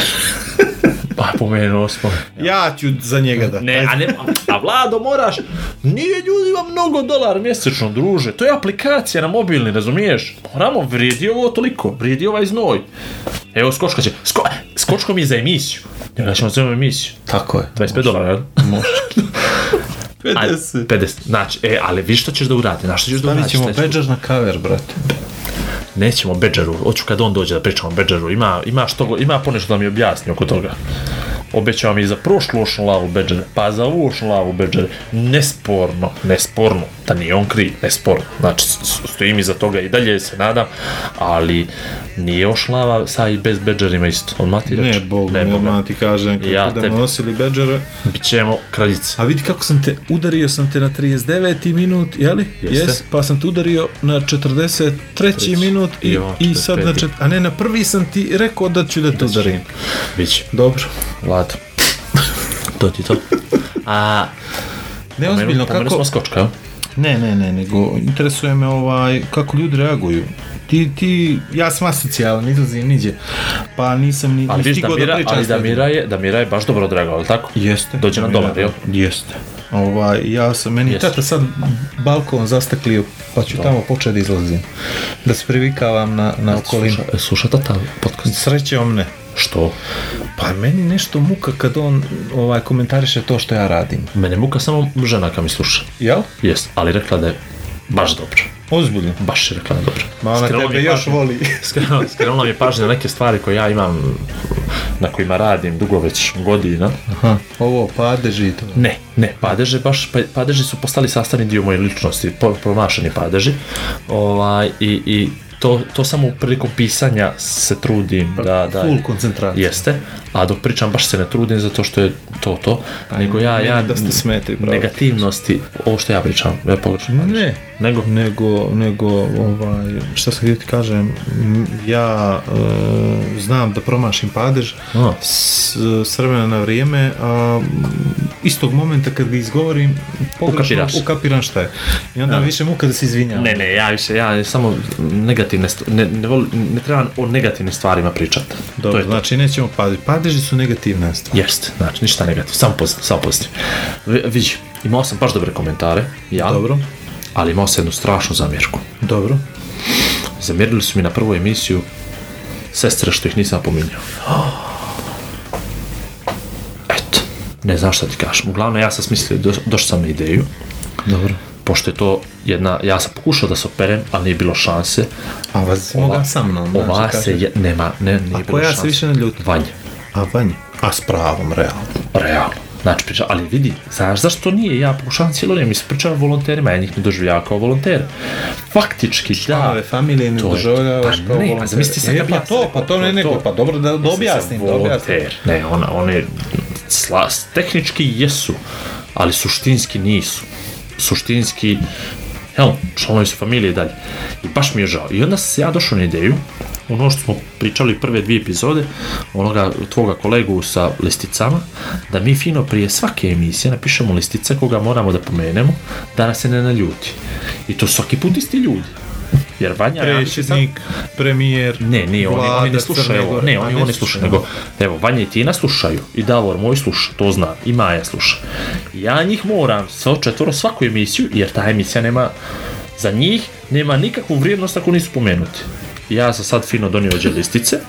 Speaker 4: Pa pomenuo smo.
Speaker 3: Ja ću za njega da.
Speaker 4: Ne, a, ne, a Vlado moraš, nije ljudima mnogo dolar mjesečno, druže, to je aplikacija na mobilni, razumiješ? Moramo, vrijedi ovo toliko, vrijedi ovaj znoj. Evo, Skočka će, sko, Skočko mi je za emisiju, njega ćemo za emisiju,
Speaker 3: Tako je.
Speaker 4: 25 dolara, jel?
Speaker 3: Može.
Speaker 4: Ajde,
Speaker 3: 50.
Speaker 4: 50, znači, e, ali vi što ćeš da uradi, znaš što ćeš da
Speaker 3: Stavit
Speaker 4: uradi?
Speaker 3: ćemo
Speaker 4: šta znači ćeš-
Speaker 3: beđar na kaver, brate.
Speaker 4: Nećemo Bedžeru, hoću kad on dođe da pričamo o Bedžeru, ima, ima, što, go- ima ponešto da mi objasni oko toga. Obećao mi i za prošlu ošnu lavu Bedžere, pa za ovu ošnu lavu Bedžere. Nesporno, nesporno, da nije on kriv, nesporno. Znači, s- s- stojim iza toga i dalje se nadam, ali nije ošlava sa i bez Bedžerima isto. Odmah ti reći.
Speaker 3: Ne, bog, ne,
Speaker 4: Bog me.
Speaker 3: odmah ti kažem kako
Speaker 4: Ja
Speaker 3: da
Speaker 4: tebi.
Speaker 3: me nosili beđara.
Speaker 4: Bićemo kraljice.
Speaker 3: A vidi kako sam te, udario sam te na 39. minut, jeli?
Speaker 4: Jeste.
Speaker 3: Jes, pa sam te udario na 43. minut i,
Speaker 4: Jo,
Speaker 3: i sad na
Speaker 4: 45..
Speaker 3: čet... A ne, na prvi sam ti rekao da ću da te udarim.
Speaker 4: Biće.
Speaker 3: Dobro.
Speaker 4: Vlad. to ti to. A,
Speaker 3: Neozbiljno,
Speaker 4: pomenuli
Speaker 3: kako...
Speaker 4: smo skočka, jel?
Speaker 3: Ne, ne, ne, nego interesuje me ovaj, kako ljudi reaguju. Ti, ti, ja sam asocijalan, izlazim niđe, pa nisam ni,
Speaker 4: Ali
Speaker 3: ni
Speaker 4: viš
Speaker 3: stigao da
Speaker 4: Damira,
Speaker 3: pričam.
Speaker 4: ali
Speaker 3: s ljudima.
Speaker 4: Damira je, Damira je baš dobro drago, ali tako?
Speaker 3: Jeste.
Speaker 4: Dođe nam
Speaker 3: Damira,
Speaker 4: dolar, jel?
Speaker 3: Jeste. Ovaj, ja sam, meni
Speaker 4: Jeste.
Speaker 3: Jeste. tata sad balkon zasteklio, pa ću tamo početi da izlazim. Da se privikavam na, na okolinu.
Speaker 4: Sluša, e, sluša tata podcast.
Speaker 3: Srećom ne.
Speaker 4: Što?
Speaker 3: Pa meni nešto muka kad on ovaj komentariše to što ja radim.
Speaker 4: Mene muka samo žena kad mi sluša.
Speaker 3: Jel?
Speaker 4: Jes, ali rekla da je baš dobro.
Speaker 3: Ozbiljno.
Speaker 4: Baš je rekla da je dobro.
Speaker 3: Ma ona
Speaker 4: Skrenula mi
Speaker 3: tebe
Speaker 4: je
Speaker 3: još
Speaker 4: pažnja-
Speaker 3: voli.
Speaker 4: skrenula- Skrenula mi je pažnje na neke stvari koje ja imam na kojima radim dugo već godina.
Speaker 3: Aha, ovo padeži i to.
Speaker 4: Ne, ne, padeže baš, pa- padeži su postali sastavni dio moje ličnosti, po, promašani padeži. Ovaj, i, i to, to samo prilikom pisanja se trudim da, da,
Speaker 3: Full koncentracija.
Speaker 4: Jeste, a dok pričam baš se ne trudim zato što je to to, Pa nego ja,
Speaker 3: meni
Speaker 4: ja
Speaker 3: da ste smetli, bravo.
Speaker 4: negativnosti, ovo što ja pričam, ja pogrešno kažem.
Speaker 3: Ne,
Speaker 4: Nego,
Speaker 3: nego, nego ovaj, šta sam htio ti kažem, m, ja e, znam da promašim padež
Speaker 4: A.
Speaker 3: s, s vremena na vrijeme, a m, istog momenta kad ga izgovorim, pogrešno
Speaker 4: Ukapiraš.
Speaker 3: ukapiram šta je. I onda više muka da se izvinjam.
Speaker 4: ne, ne, ja više, ja samo negativne, st- ne, ne, volim, ne trebam o negativnim stvarima pričati. to
Speaker 3: Dobro,
Speaker 4: je to.
Speaker 3: znači nećemo padež. Padeži su negativne stvari.
Speaker 4: Jeste, znači ništa negativ, samo pozitiv, samo pozitiv. Vi- Vidi, imao sam baš dobre komentare, ja,
Speaker 3: Dobro,
Speaker 4: ali imao sam jednu strašnu zamjerku.
Speaker 3: dobro.
Speaker 4: Zamjerili su mi na prvu emisiju sestre što ih nisam pominjao. Eto, ne znam šta ti kažem. Uglavnom, ja sam smislio, do, došao sam na ideju,
Speaker 3: Dobro.
Speaker 4: pošto je to jedna, ja sam pokušao da se operem, ali nije bilo šanse.
Speaker 3: A vas moga sa mnom. znaš,
Speaker 4: Ova
Speaker 3: da kažem.
Speaker 4: se, je, nema, ne, nije bilo
Speaker 3: koja se
Speaker 4: šanse.
Speaker 3: više ne ljuti?
Speaker 4: Vanja,
Speaker 3: A vanj, a s pravom, realno.
Speaker 4: realno. Znači, priča, ali vidi, znaš zašto nije? Ja pokušavam cijelo vrijeme, mislim, pričam o volonterima, ja njih ne doživljavam kao volonter. Faktički, da.
Speaker 3: Članove familije ne
Speaker 4: to je-
Speaker 3: doživljavaš
Speaker 4: pa
Speaker 3: kao
Speaker 4: ne, pa
Speaker 3: volonter.
Speaker 4: zamisli sad
Speaker 3: E,
Speaker 4: kad
Speaker 3: pa
Speaker 4: ja
Speaker 3: to,
Speaker 4: sam-
Speaker 3: pa to ne
Speaker 4: to-
Speaker 3: nego,
Speaker 4: to-
Speaker 3: pa dobro da, da objasnim, da objasnim.
Speaker 4: volonter. Ne, ona, one slas, tehnički jesu, ali suštinski nisu. Suštinski, jel, članovi su familije i dalje. I baš mi je žao. I onda se ja došao na ideju, ono što smo pričali prve dvije epizode, onoga tvoga kolegu sa listicama, da mi fino prije svake emisije napišemo listice koga moramo da pomenemo, da nas se ne naljuti. I to svaki put isti ljudi. Jer Vanja, ja mislim sad-
Speaker 3: Predsjednik, premijer,
Speaker 4: ne, ne, oni,
Speaker 3: vlada
Speaker 4: oni ne
Speaker 3: Crne
Speaker 4: slušaju ovo.
Speaker 3: Gore.
Speaker 4: Ne,
Speaker 3: A
Speaker 4: oni,
Speaker 3: slušaju.
Speaker 4: oni slušaju, nego, evo, Vanja i Tina slušaju, i Davor moj sluša, to zna, i Maja sluša. Ja njih moram sa četvoro svaku emisiju, jer ta emisija nema, za njih nema nikakvu vrijednost ako nisu pomenuti. Ja sam sad fino donio ođe listice,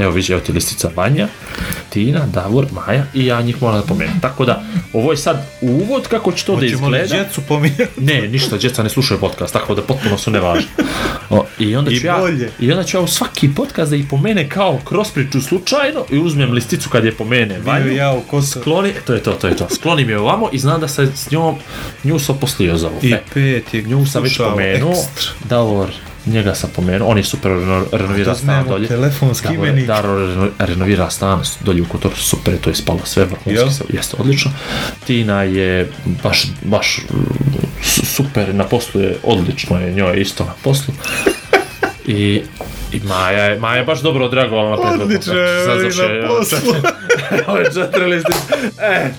Speaker 4: evo viđe, evo ti listica Vanja, Tina, Davor, Maja i ja njih moram da pomenem. Tako da, ovo je sad uvod kako će to da
Speaker 3: ćemo li
Speaker 4: izgleda.
Speaker 3: djecu pomirati?
Speaker 4: Ne, ništa, djeca ne slušaju podcast, tako da potpuno su nevažni. O, i, onda
Speaker 3: I
Speaker 4: ću ja,
Speaker 3: bolje.
Speaker 4: I onda ću ja u svaki podcast da ih pomene kao kroz priču slučajno i uzmem listicu kad je pomene
Speaker 3: Bio
Speaker 4: Vanju.
Speaker 3: ja u Kosovo.
Speaker 4: Skloni, to je to, to je to. Sklonim je ovamo i znam da se s njom, nju sam poslio za ovo.
Speaker 3: I
Speaker 4: E,
Speaker 3: pet je
Speaker 4: nju sam već
Speaker 3: slušao
Speaker 4: pomenuo,
Speaker 3: ekstra.
Speaker 4: Davor, njega sam pomenuo, on je super reno-
Speaker 3: Da
Speaker 4: renovira stan
Speaker 3: znamo
Speaker 4: dolje.
Speaker 3: telefonski
Speaker 4: Davor,
Speaker 3: imenik.
Speaker 4: Davor reno- renovira stan s- dolje u Kotoru, super, to je spalo sve vrhunski,
Speaker 3: Jel?
Speaker 4: sve, jeste odlično. Tina je baš, baš mm, su- super na poslu, je odlično je njoj isto na poslu. I, i Maja, je, Maja je baš dobro odreagovala na prethodnu.
Speaker 3: Odlično
Speaker 4: Znači,
Speaker 3: je,
Speaker 4: sad
Speaker 3: veli
Speaker 4: zašto je,
Speaker 3: na
Speaker 4: evo,
Speaker 3: poslu.
Speaker 4: Ove četiri liste. E,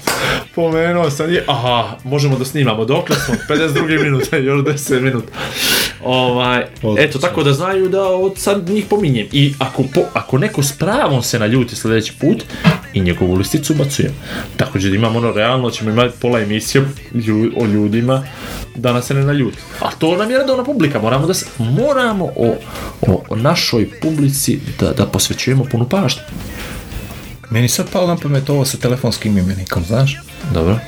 Speaker 4: pomenuo sam je. Aha, možemo da snimamo. Dokle smo? 52 minuta, još 10 minuta. Ovaj, eto, tako da znaju da od sad njih pominjem. I ako, po, ako neko s pravom se naljuti sljedeći put, i njegovu listicu bacujem. Tako da imamo ono, realno ćemo imati pola emisije lju, o ljudima da nas se ne naljuti. A to nam je redovna publika, moramo da se, moramo o, o, o našoj publici da, da posvećujemo punu pažnju.
Speaker 3: Meni sad palo na pamet ovo sa telefonskim imenikom, znaš?
Speaker 4: Dobro.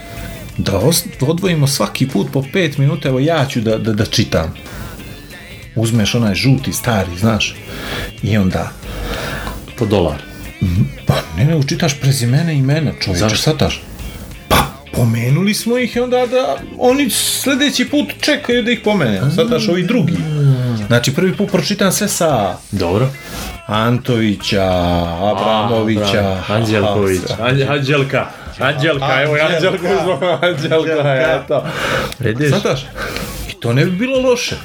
Speaker 3: Da os- odvojimo svaki put po pet minuta, evo ja ću da, da, da čitam. Uzmeš onaj žuti, stari, znaš? I onda,
Speaker 4: Po dolar.
Speaker 3: Pa ne, ne, učitaš prezimena i imena, čovječe,
Speaker 4: Zašto?
Speaker 3: sataš? Pa, pomenuli smo ih i onda da oni sljedeći put čekaju da ih pomene, sataš ovi drugi. Znači, prvi put pročitam sve sa
Speaker 4: Dobro.
Speaker 3: Antovića, Abramovića,
Speaker 4: Pa, Anđelković. Anđ- Anđelka. Anđelka, evo je Anđelka. Anđelka, eto. Vidiš?
Speaker 3: Sataš? I to ne bi bilo loše.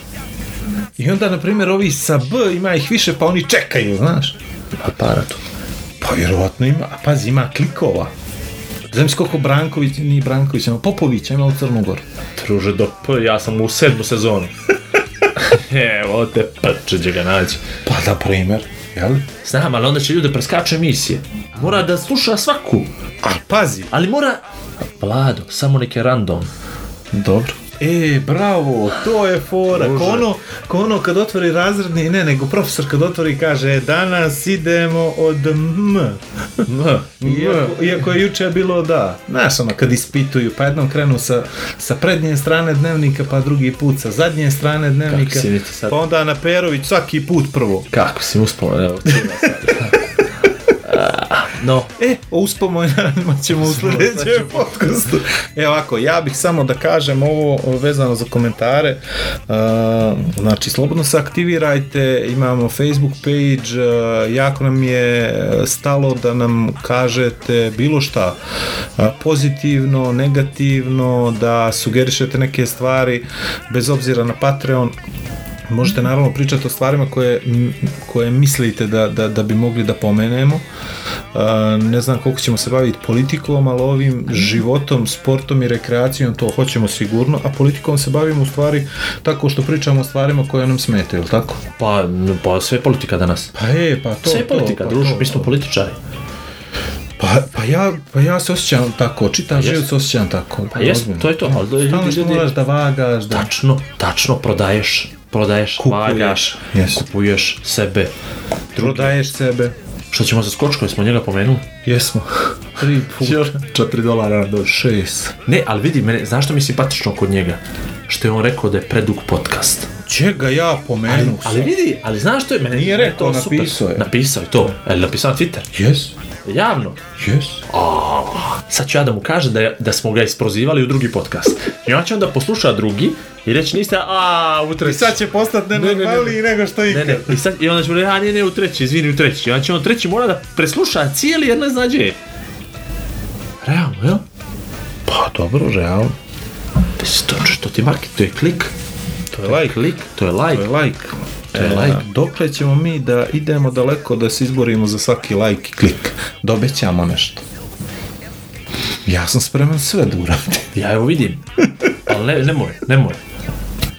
Speaker 3: I onda, na primjer, ovi sa B ima ih više, pa oni čekaju, znaš?
Speaker 4: Aparat.
Speaker 3: Pa vjerovatno ima, a pazi, ima klikova. Znam si koliko Branković, nije Branković, ima Popović, ima u Crnu Goru.
Speaker 4: Druže, do P, ja sam u sedmu sezonu. evo te prče će ga naći.
Speaker 3: Pa, na primjer, jel?
Speaker 4: Znam, ali onda će ljude preskaču emisije. Mora da sluša svaku.
Speaker 3: A, pazi.
Speaker 4: Ali mora... Vlado, samo neke random.
Speaker 3: Dobro. E, bravo, to je fora. Ko ono, ko ono kad otvori razredni, ne, nego profesor kad otvori kaže "E, danas idemo od M. Iako, iako je juče bilo da. Znaš, ono, kad ispituju, pa jednom krenu sa, sa prednje strane dnevnika, pa drugi put sa zadnje strane dnevnika.
Speaker 4: Kako si niti sad-
Speaker 3: Pa onda na Perović svaki put prvo.
Speaker 4: Kako si uspala, evo. čuva sad. No.
Speaker 3: E, o uspomenama ćemo u sljedećem podcastu. E ovako, ja bih samo da kažem ovo vezano za komentare. Uh, znači, slobodno se aktivirajte, imamo Facebook page, uh, jako nam je stalo da nam kažete bilo šta uh, pozitivno, negativno, da sugerišete neke stvari, bez obzira na Patreon, Možete naravno pričati o stvarima koje, m, koje mislite da, da, da bi mogli da pomenemo. A, ne znam koliko ćemo se baviti politikom, ali ovim životom, sportom i rekreacijom to hoćemo sigurno, a politikom se bavimo u stvari tako što pričamo o stvarima koje nam smetaju, jel tako?
Speaker 4: Pa, pa sve je politika danas.
Speaker 3: Pa e, pa to,
Speaker 4: sve je
Speaker 3: to,
Speaker 4: politika,
Speaker 3: pa
Speaker 4: druže,
Speaker 3: to.
Speaker 4: mi smo političari.
Speaker 3: Pa, pa, ja, pa ja se osjećam tako, čitam život se osjećam tako. Pa
Speaker 4: Jes, to je to, ali
Speaker 3: Stalno
Speaker 4: ljudi,
Speaker 3: što
Speaker 4: ljudi,
Speaker 3: moraš da vagaš, da...
Speaker 4: tačno, tačno prodaješ, prodaješ,
Speaker 3: Kupuješ.
Speaker 4: vagaš,
Speaker 3: Yes.
Speaker 4: kupuješ sebe.
Speaker 3: Prodaješ sebe.
Speaker 4: Što ćemo sa skočkom, smo njega pomenuli?
Speaker 3: Jesmo. 3 puta. 4 dolara do 6.
Speaker 4: Ne, ali vidi, mene, znaš što mi je simpatično kod njega? Što je on rekao da je predug podcast.
Speaker 3: Čega ja pomenu?
Speaker 4: Ali vidi, ali znaš što je mene...
Speaker 3: Nije
Speaker 4: mene je
Speaker 3: rekao,
Speaker 4: to super.
Speaker 3: napisao je.
Speaker 4: Napisao je to, ali napisao na Twitter,
Speaker 3: Jes,
Speaker 4: javno.
Speaker 3: jes.
Speaker 4: Sad ću ja da mu kažem da, je, da smo ga isprozivali u drugi podcast. I on će onda poslušati drugi i reći niste, a u treći.
Speaker 3: Sad će postat nenormalniji nego što
Speaker 4: Ne,
Speaker 3: ikad.
Speaker 4: ne, i, sad, i onda ćemo reći, a ne, ne, u treći, izvini, u treći. I onda će on treći mora da presluša cijeli jer ne zna gdje je. Realno, jel?
Speaker 3: Pa dobro, realno.
Speaker 4: Mislim, to, ono što ti marki, to je klik.
Speaker 3: To je like.
Speaker 4: Klik, to je
Speaker 3: To
Speaker 4: like.
Speaker 3: je like. To je
Speaker 4: E,
Speaker 3: like.
Speaker 4: like.
Speaker 3: Dokle ćemo mi da idemo daleko da se izborimo za svaki like i klik? Da obećamo nešto. Ja sam spreman sve da uradim.
Speaker 4: Ja evo vidim. Ali ne, nemoj, nemoj.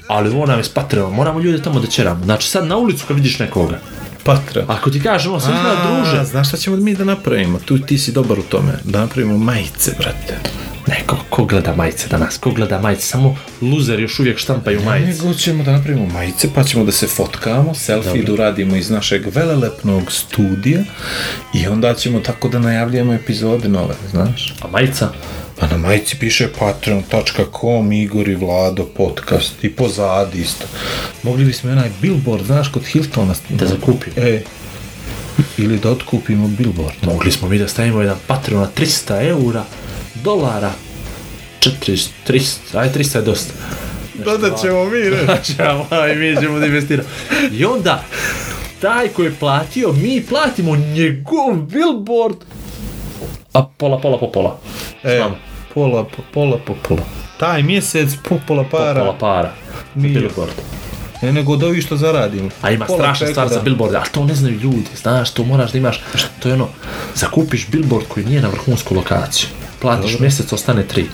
Speaker 4: Ali ovo nam je s Patreon, moramo ljude tamo da ćeramo. Znači sad na ulicu kad vidiš nekoga.
Speaker 3: Patra.
Speaker 4: Ako ti kažem, on sve izgleda druže.
Speaker 3: znaš šta ćemo mi da napravimo? Tu ti si dobar u tome. Da napravimo majice, brate.
Speaker 4: Ne, ko, ko gleda majice danas? Ko gleda majice? Samo luzer još uvijek štampaju majice.
Speaker 3: Nego ćemo da napravimo majice, pa ćemo da se fotkamo, selfie da uradimo iz našeg velelepnog studija i onda ćemo tako da najavljujemo epizode nove, znaš?
Speaker 4: A majica?
Speaker 3: Pa na majici piše patreon.com Igor i Vlado podcast i pozadi isto. Mogli bismo i onaj billboard, znaš, kod Hiltona.
Speaker 4: Da zakupimo.
Speaker 3: E, ili da otkupimo billboard.
Speaker 4: Mogli smo mi da stavimo jedan Patreon na 300 eura, dolara, 400, 300, aj 300 je dosta.
Speaker 3: Da ćemo mi, ne?
Speaker 4: Ćemo, aj mi ćemo da investiramo. I onda, taj koji je platio, mi platimo njegov billboard, a pola, pola, po pola.
Speaker 3: E,
Speaker 4: Znam.
Speaker 3: pola, po, pola, po, pola. Taj mjesec po pola para.
Speaker 4: Pola para.
Speaker 3: Nije.
Speaker 4: Billboard.
Speaker 3: Ne, nego od ovih što zaradimo.
Speaker 4: A ima
Speaker 3: Pola
Speaker 4: strašna
Speaker 3: čeka
Speaker 4: stvar
Speaker 3: da-
Speaker 4: za billboard, ali to ne znaju ljudi, znaš, to moraš da imaš, to je ono, zakupiš billboard koji nije na vrhunsku lokaciju, platiš mjesec, ostane tri.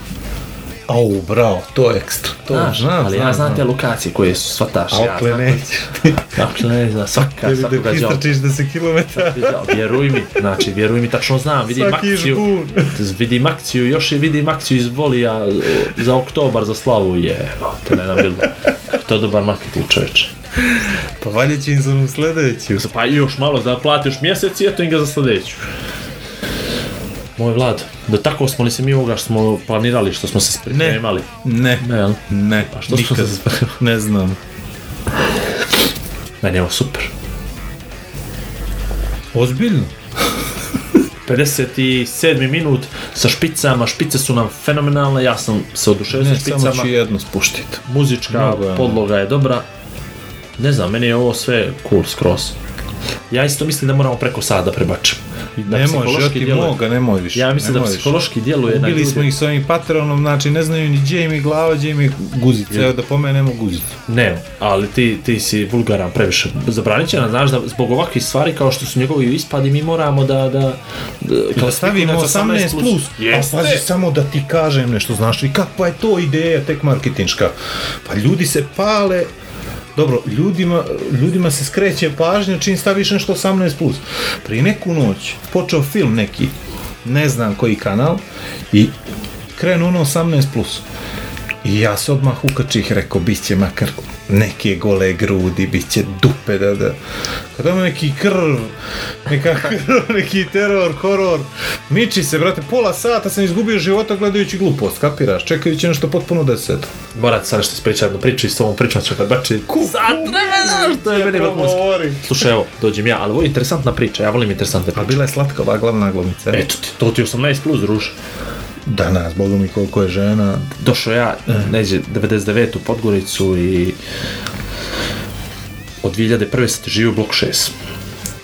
Speaker 3: Au, bravo, to je ekstra. To
Speaker 4: Znaš, ali ja znam te lokacije koje su, svataš, ja
Speaker 3: Okle
Speaker 4: znam.
Speaker 3: nećeš.
Speaker 4: Dakle, ne znam, svaka,
Speaker 3: Ili
Speaker 4: svakoga
Speaker 3: da
Speaker 4: đavo.
Speaker 3: istračiš da se kilometara.
Speaker 4: Vjeruj mi, znači, vjeruj mi, tačno znam, vidim
Speaker 3: Svaki
Speaker 4: akciju,
Speaker 3: žbun.
Speaker 4: vidim akciju, još je vidim akciju iz Volija e, za oktobar, za slavu, je, to ne znam, bilo. To je dobar marketing čovječe.
Speaker 3: Pa valje će im za onu sljedeću.
Speaker 4: Pa i još malo da platiš mjesec i eto im ga za sljedeću. Moj vlad, da tako smo li se mi ovoga što smo planirali, što smo se pripremali?
Speaker 3: Ne.
Speaker 4: Ne. jel?
Speaker 3: Ne.
Speaker 4: A što smo
Speaker 3: nikad.
Speaker 4: se-
Speaker 3: Ne znam.
Speaker 4: Meni je ovo super.
Speaker 3: Ozbiljno?
Speaker 4: 57. minut sa špicama, špice su nam fenomenalne, ja sam se oduševio sa
Speaker 3: Ne, samo
Speaker 4: špicama,
Speaker 3: ću jednu spuštiti.
Speaker 4: muzička
Speaker 3: Mnogo je ono.
Speaker 4: podloga je dobra. Ne znam, meni je ovo sve cool skroz. Ja isto mislim da moramo preko sada prebačimo. Da
Speaker 3: Ne
Speaker 4: psihološki
Speaker 3: može, ja ti
Speaker 4: djeluje-
Speaker 3: moga, nemoj više.
Speaker 4: Ja mislim da
Speaker 3: nemoj više.
Speaker 4: psihološki djeluje na
Speaker 3: Ubili
Speaker 4: ljude.
Speaker 3: smo ih s ovim Patreonom, znači ne znaju ni gdje im je glava, gdje im je guzica. Evo da pomenemo guzicu.
Speaker 4: Ne, ali ti, ti si vulgaran previše. Zabranit će nam, znaš, da zbog ovakvih stvari kao što su njegovi ispadi, mi moramo da... Da, da,
Speaker 3: Da stavimo 18 plus. A pazi,
Speaker 4: Jeste.
Speaker 3: samo da ti kažem nešto, znaš, i kakva je to ideja tek marketinška. Pa ljudi se pale, dobro, ljudima, ljudima se skreće pažnja čim staviš nešto 18 plus. Prije neku noć počeo film neki, ne znam koji kanal, i krenu ono 18 plus. I ja se odmah ukačih, rekao, bit će makar neke gole grudi, bit će dupe, da, da. Kada ima neki krv, neka krv, neki teror, horor, miči se, brate, pola sata sam izgubio života gledajući glupost, kapiraš, čekajući nešto potpuno deseto.
Speaker 4: Morat sad što ispričati jednu priču i s ovom pričom ću kad bači. Sad ne znaš što je meni vrhunski.
Speaker 3: Govori.
Speaker 4: Slušaj, evo, dođem ja, ali ovo je interesantna priča, ja volim interesantne
Speaker 3: A
Speaker 4: priče.
Speaker 3: bila je slatka ova glavna glumica.
Speaker 4: Eto ti, to ti je 18 plus, druže.
Speaker 3: Danas, bogu mi koliko je žena.
Speaker 4: došao ja eh, neđe 99 u Podgoricu i od 2001. sam ti živio u blok 6.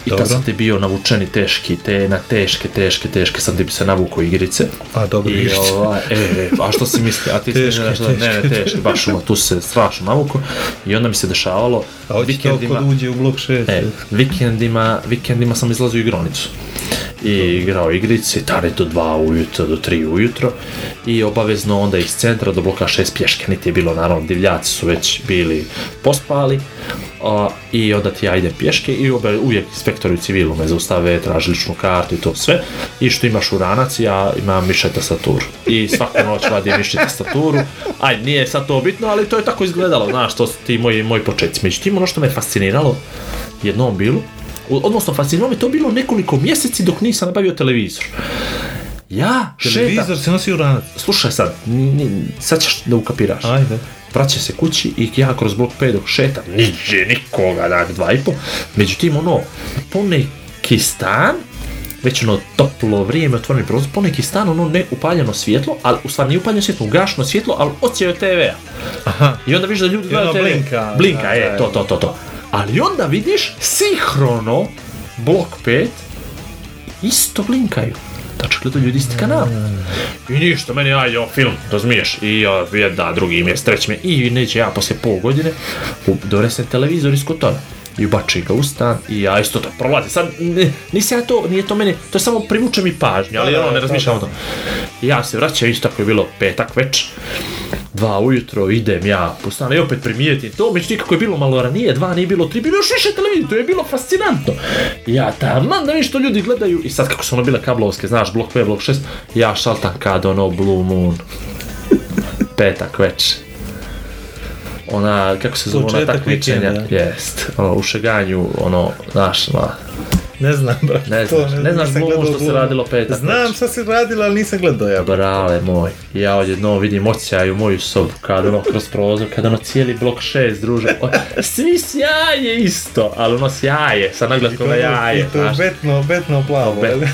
Speaker 4: I
Speaker 3: Dobro.
Speaker 4: tad sam ti bio navučeni teški, te na teške, teške, teške sam ti bi se navukao igrice.
Speaker 3: A dobro,
Speaker 4: I
Speaker 3: igrice.
Speaker 4: ova, e, e, a što si misli, a ti si
Speaker 3: Teške,
Speaker 4: znaš da- ne, ne, teške, baš ono, tu se strašno navuko. I onda mi se dešavalo,
Speaker 3: A hoće to
Speaker 4: vikendima,
Speaker 3: kod uđe u blok 6.
Speaker 4: E, vikendima, vikendima sam izlazio u igronicu. I igrao igrice, tare do 2 ujutro, do 3 ujutro i obavezno onda iz centra do bloka 6 pješke, niti je bilo naravno, divljaci su već bili pospali a, i onda ti ja idem pješke i obe, uvijek inspektori u civilu me zaustave, traži ličnu kartu i to sve i što imaš uranac, ja imam miša tastaturu i svaku noć vadim miša tastaturu aj nije sad to bitno, ali to je tako izgledalo, znaš, to su ti moji, moji početci međutim ono što me fasciniralo jednom bilo, odnosno fasciniralo me to bilo nekoliko mjeseci dok nisam nabavio televizor. Ja šetam,
Speaker 3: Televizor se nosi u ranac.
Speaker 4: slušaj sad, n- n- sad ćeš da ukapiraš.
Speaker 3: Ajde.
Speaker 4: Vraćam se kući i ja kroz blok 5 dok šetam, niđe nikoga, dak dva i po. Međutim, ono, poneki stan, već ono toplo vrijeme, otvoreni prozor, poneki stan, ono ne upaljeno svjetlo, ali u stvari nije upaljeno svjetlo, ugašeno svjetlo, ali ocijeo TV-a.
Speaker 3: Aha.
Speaker 4: I onda vidiš da ljudi gledaju
Speaker 3: ono
Speaker 4: TV.
Speaker 3: blinka.
Speaker 4: Blinka,
Speaker 3: Da,
Speaker 4: je,
Speaker 3: da,
Speaker 4: to, to, to, to. Ali onda vidiš sinhrono blok 5 isto blinkaju. Znači, gledaju ljudi isti kanal.
Speaker 3: Mm.
Speaker 4: I ništa, meni ajde, o, film, razumiješ? I o, jedna, drugi mjesec, treći mjesec. I neće ja, poslije pol godine, u- donesem televizor iz kotona. I ubači ga u stan i ja isto to prolazi. Sad, ne, nisam ja to, nije to mene, to je samo privuče mi pažnju, ali
Speaker 3: Da, da,
Speaker 4: ono, ne
Speaker 3: da,
Speaker 4: razmišljam o tom. I ja se vraćam, isto ako je bilo petak već, dva ujutro idem ja po stanu i opet primijetim to, međutim kako je bilo malo ranije, dva nije bilo, tri bilo još više televizije, to je bilo fascinantno. Ja taman da vidim što ljudi gledaju i sad kako su ono bile kablovske, znaš, blok 5, blok 6, ja šaltam kad ono Blue Moon. Petak večer. Ona, kako se zove ona
Speaker 3: Početak
Speaker 4: takmičenja?
Speaker 3: vikenda.
Speaker 4: Jest, ono, u šeganju, ono, znaš, ma,
Speaker 3: Ne znam, brate.
Speaker 4: Ne
Speaker 3: to
Speaker 4: znaš, ne znaš
Speaker 3: nisam
Speaker 4: Blue Moon
Speaker 3: gledao
Speaker 4: što se
Speaker 3: Blue Moon.
Speaker 4: radilo petak znači.
Speaker 3: Znam
Speaker 4: večer.
Speaker 3: šta se radilo, ali nisam gledao ja.
Speaker 4: brale moj, ja odjedno vidim ocijaju moju sobu, kad ono kroz prozor, kad ono cijeli blok 6, druže, o- svi sjaje isto, ali ono sjaje, sa naglaskom na jaje,
Speaker 3: I to je
Speaker 4: znaš.
Speaker 3: betno, betno plavo.
Speaker 4: Bet-
Speaker 3: jel?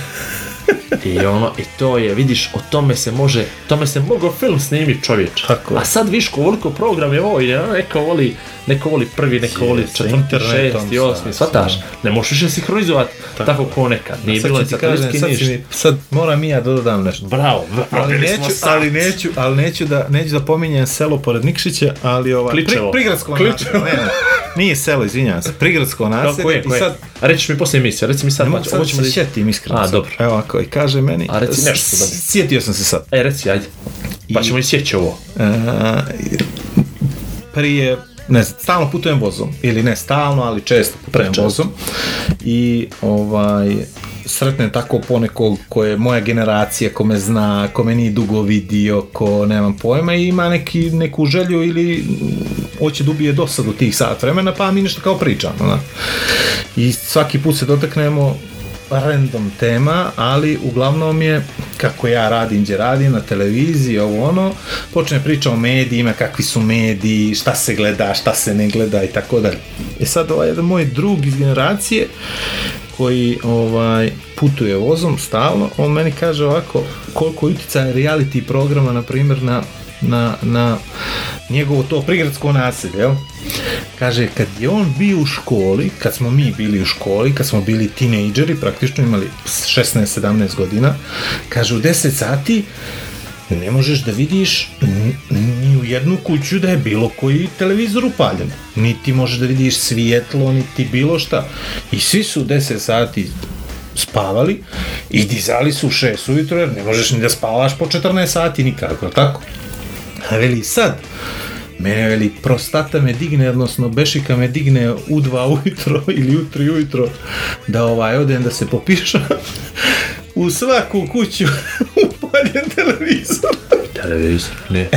Speaker 4: I ono, i to je, vidiš, o tome se može, tome se mogo film snimit čovječ.
Speaker 3: Tako je.
Speaker 4: A sad viš koliko program je ovo, jer ono, neko voli, neko voli prvi, neko voli
Speaker 3: sa
Speaker 4: četvrti,
Speaker 3: internetom,
Speaker 4: šesti, osmi,
Speaker 3: sa-
Speaker 4: svataš. Ne možeš više sinhronizovat tako, ko nekad, nije bilo
Speaker 3: Sad
Speaker 4: ni
Speaker 3: ću ti kažem,
Speaker 4: satelitski
Speaker 3: sad, ću
Speaker 4: ništa.
Speaker 3: mi- sad moram i ja da dodam nešto.
Speaker 4: Bravo,
Speaker 3: Ali
Speaker 4: probili smo
Speaker 3: neću,
Speaker 4: sat.
Speaker 3: ali neću, ali neću da neću da pominjem selo pored Nikšića, ali ovaj
Speaker 4: Kličevo.
Speaker 3: prigradsko
Speaker 4: Kličevo.
Speaker 3: naselje. Ne, ne, nije selo, izvinjavam se, prigradsko naselje.
Speaker 4: Kako je, ko
Speaker 3: I
Speaker 4: je?
Speaker 3: sad
Speaker 4: A reći mi poslije emisije, reci mi sad,
Speaker 3: ne mogu
Speaker 4: mađo,
Speaker 3: sad
Speaker 4: hoćemo
Speaker 3: se
Speaker 4: da...
Speaker 3: sjetim iskreno.
Speaker 4: A,
Speaker 3: sad.
Speaker 4: dobro.
Speaker 3: Evo ako i kaže meni.
Speaker 4: A reci
Speaker 3: s-
Speaker 4: nešto, dobro.
Speaker 3: Sjetio sam se sad.
Speaker 4: E, reci, ajde. Pa ćemo isjeći ovo.
Speaker 3: E, prije ne znam, stalno putujem vozom ili ne stalno, ali često putujem
Speaker 4: Prečesto.
Speaker 3: vozom i ovaj sretnem tako ponekog ko je moja generacija, ko me zna, ko me nije dugo vidio, ko nemam pojma i ima neki, neku želju ili mm, hoće da ubije dosad u tih sat vremena pa mi nešto kao pričamo. Da. I svaki put se dotaknemo random tema, ali uglavnom je kako ja radim gdje radim na televiziji, ovo ono, počne priča o medijima, kakvi su mediji, šta se gleda, šta se ne gleda i tako dalje. E sad ovaj jedan moj drug iz generacije koji ovaj putuje vozom stalno, on meni kaže ovako koliko je utjecaj reality programa na primjer na na, na njegovo to prigradsko naselje, jel? Kaže, kad je on bio u školi, kad smo mi bili u školi, kad smo bili tinejdžeri, praktično imali 16-17 godina, kaže, u 10 sati ne možeš da vidiš n- ni u jednu kuću da je bilo koji televizor upaljen. Niti možeš da vidiš svijetlo, niti bilo šta. I svi su u 10 sati spavali i dizali su u 6 ujutro jer ne možeš ni da spavaš po 14 sati nikako, jel tako? A veli sad, mene veli prostata me digne, odnosno bešika me digne u dva ujutro ili u tri ujutro da ovaj odem da se popiša u svaku kuću upaljen televizor. E.
Speaker 4: Televizor, ne.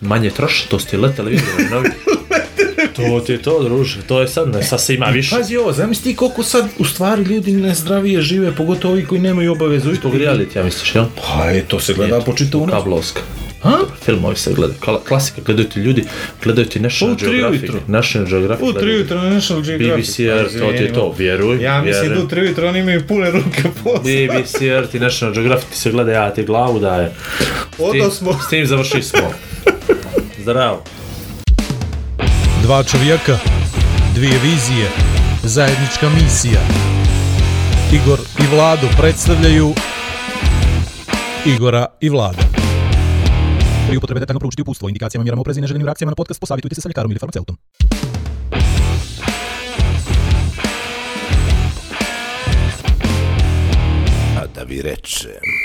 Speaker 4: Manje troši, to ste le televizor, novi. To ti je to, druže, to je sad, ne, sad se ima više.
Speaker 3: Pazi ovo, zamisli ti koliko sad u stvari ljudi nezdravije žive, pogotovo ovi koji nemaju obavezu.
Speaker 4: To reality, ja misliš, jel?
Speaker 3: Pa je, to se gleda po čitavu noć.
Speaker 4: Kablovska.
Speaker 3: Ha?
Speaker 4: Filmovi se gledaju, Kla- klasika, gledaju ti ljudi, gledaju ti National
Speaker 3: U tri
Speaker 4: Geographic.
Speaker 3: ujutro.
Speaker 4: National Geographic.
Speaker 3: U tri
Speaker 4: gledaju.
Speaker 3: jutro na National Geographic. pa
Speaker 4: BBC Earth, to ti je to, vjeruj.
Speaker 3: Ja mislim da
Speaker 4: vjeruj.
Speaker 3: u tri jutro oni imaju pune ruke posla.
Speaker 4: BBC Earth i National Geographic ti se gleda, ja ti glavu daje. S tim-
Speaker 3: Odo smo.
Speaker 4: S tim završili smo. Zdravo.
Speaker 2: Dva čovjeka, dvije vizije, zajednička misija. Igor i Vlado predstavljaju Igora i Vlada. Pri upotrebi detaljno proučiti upustvo, indikacijama, mjerama opreza i neželjenim reakcijama na podcast posavitujte se sa ljekarom ili farmaceutom.
Speaker 1: A da vi rečem.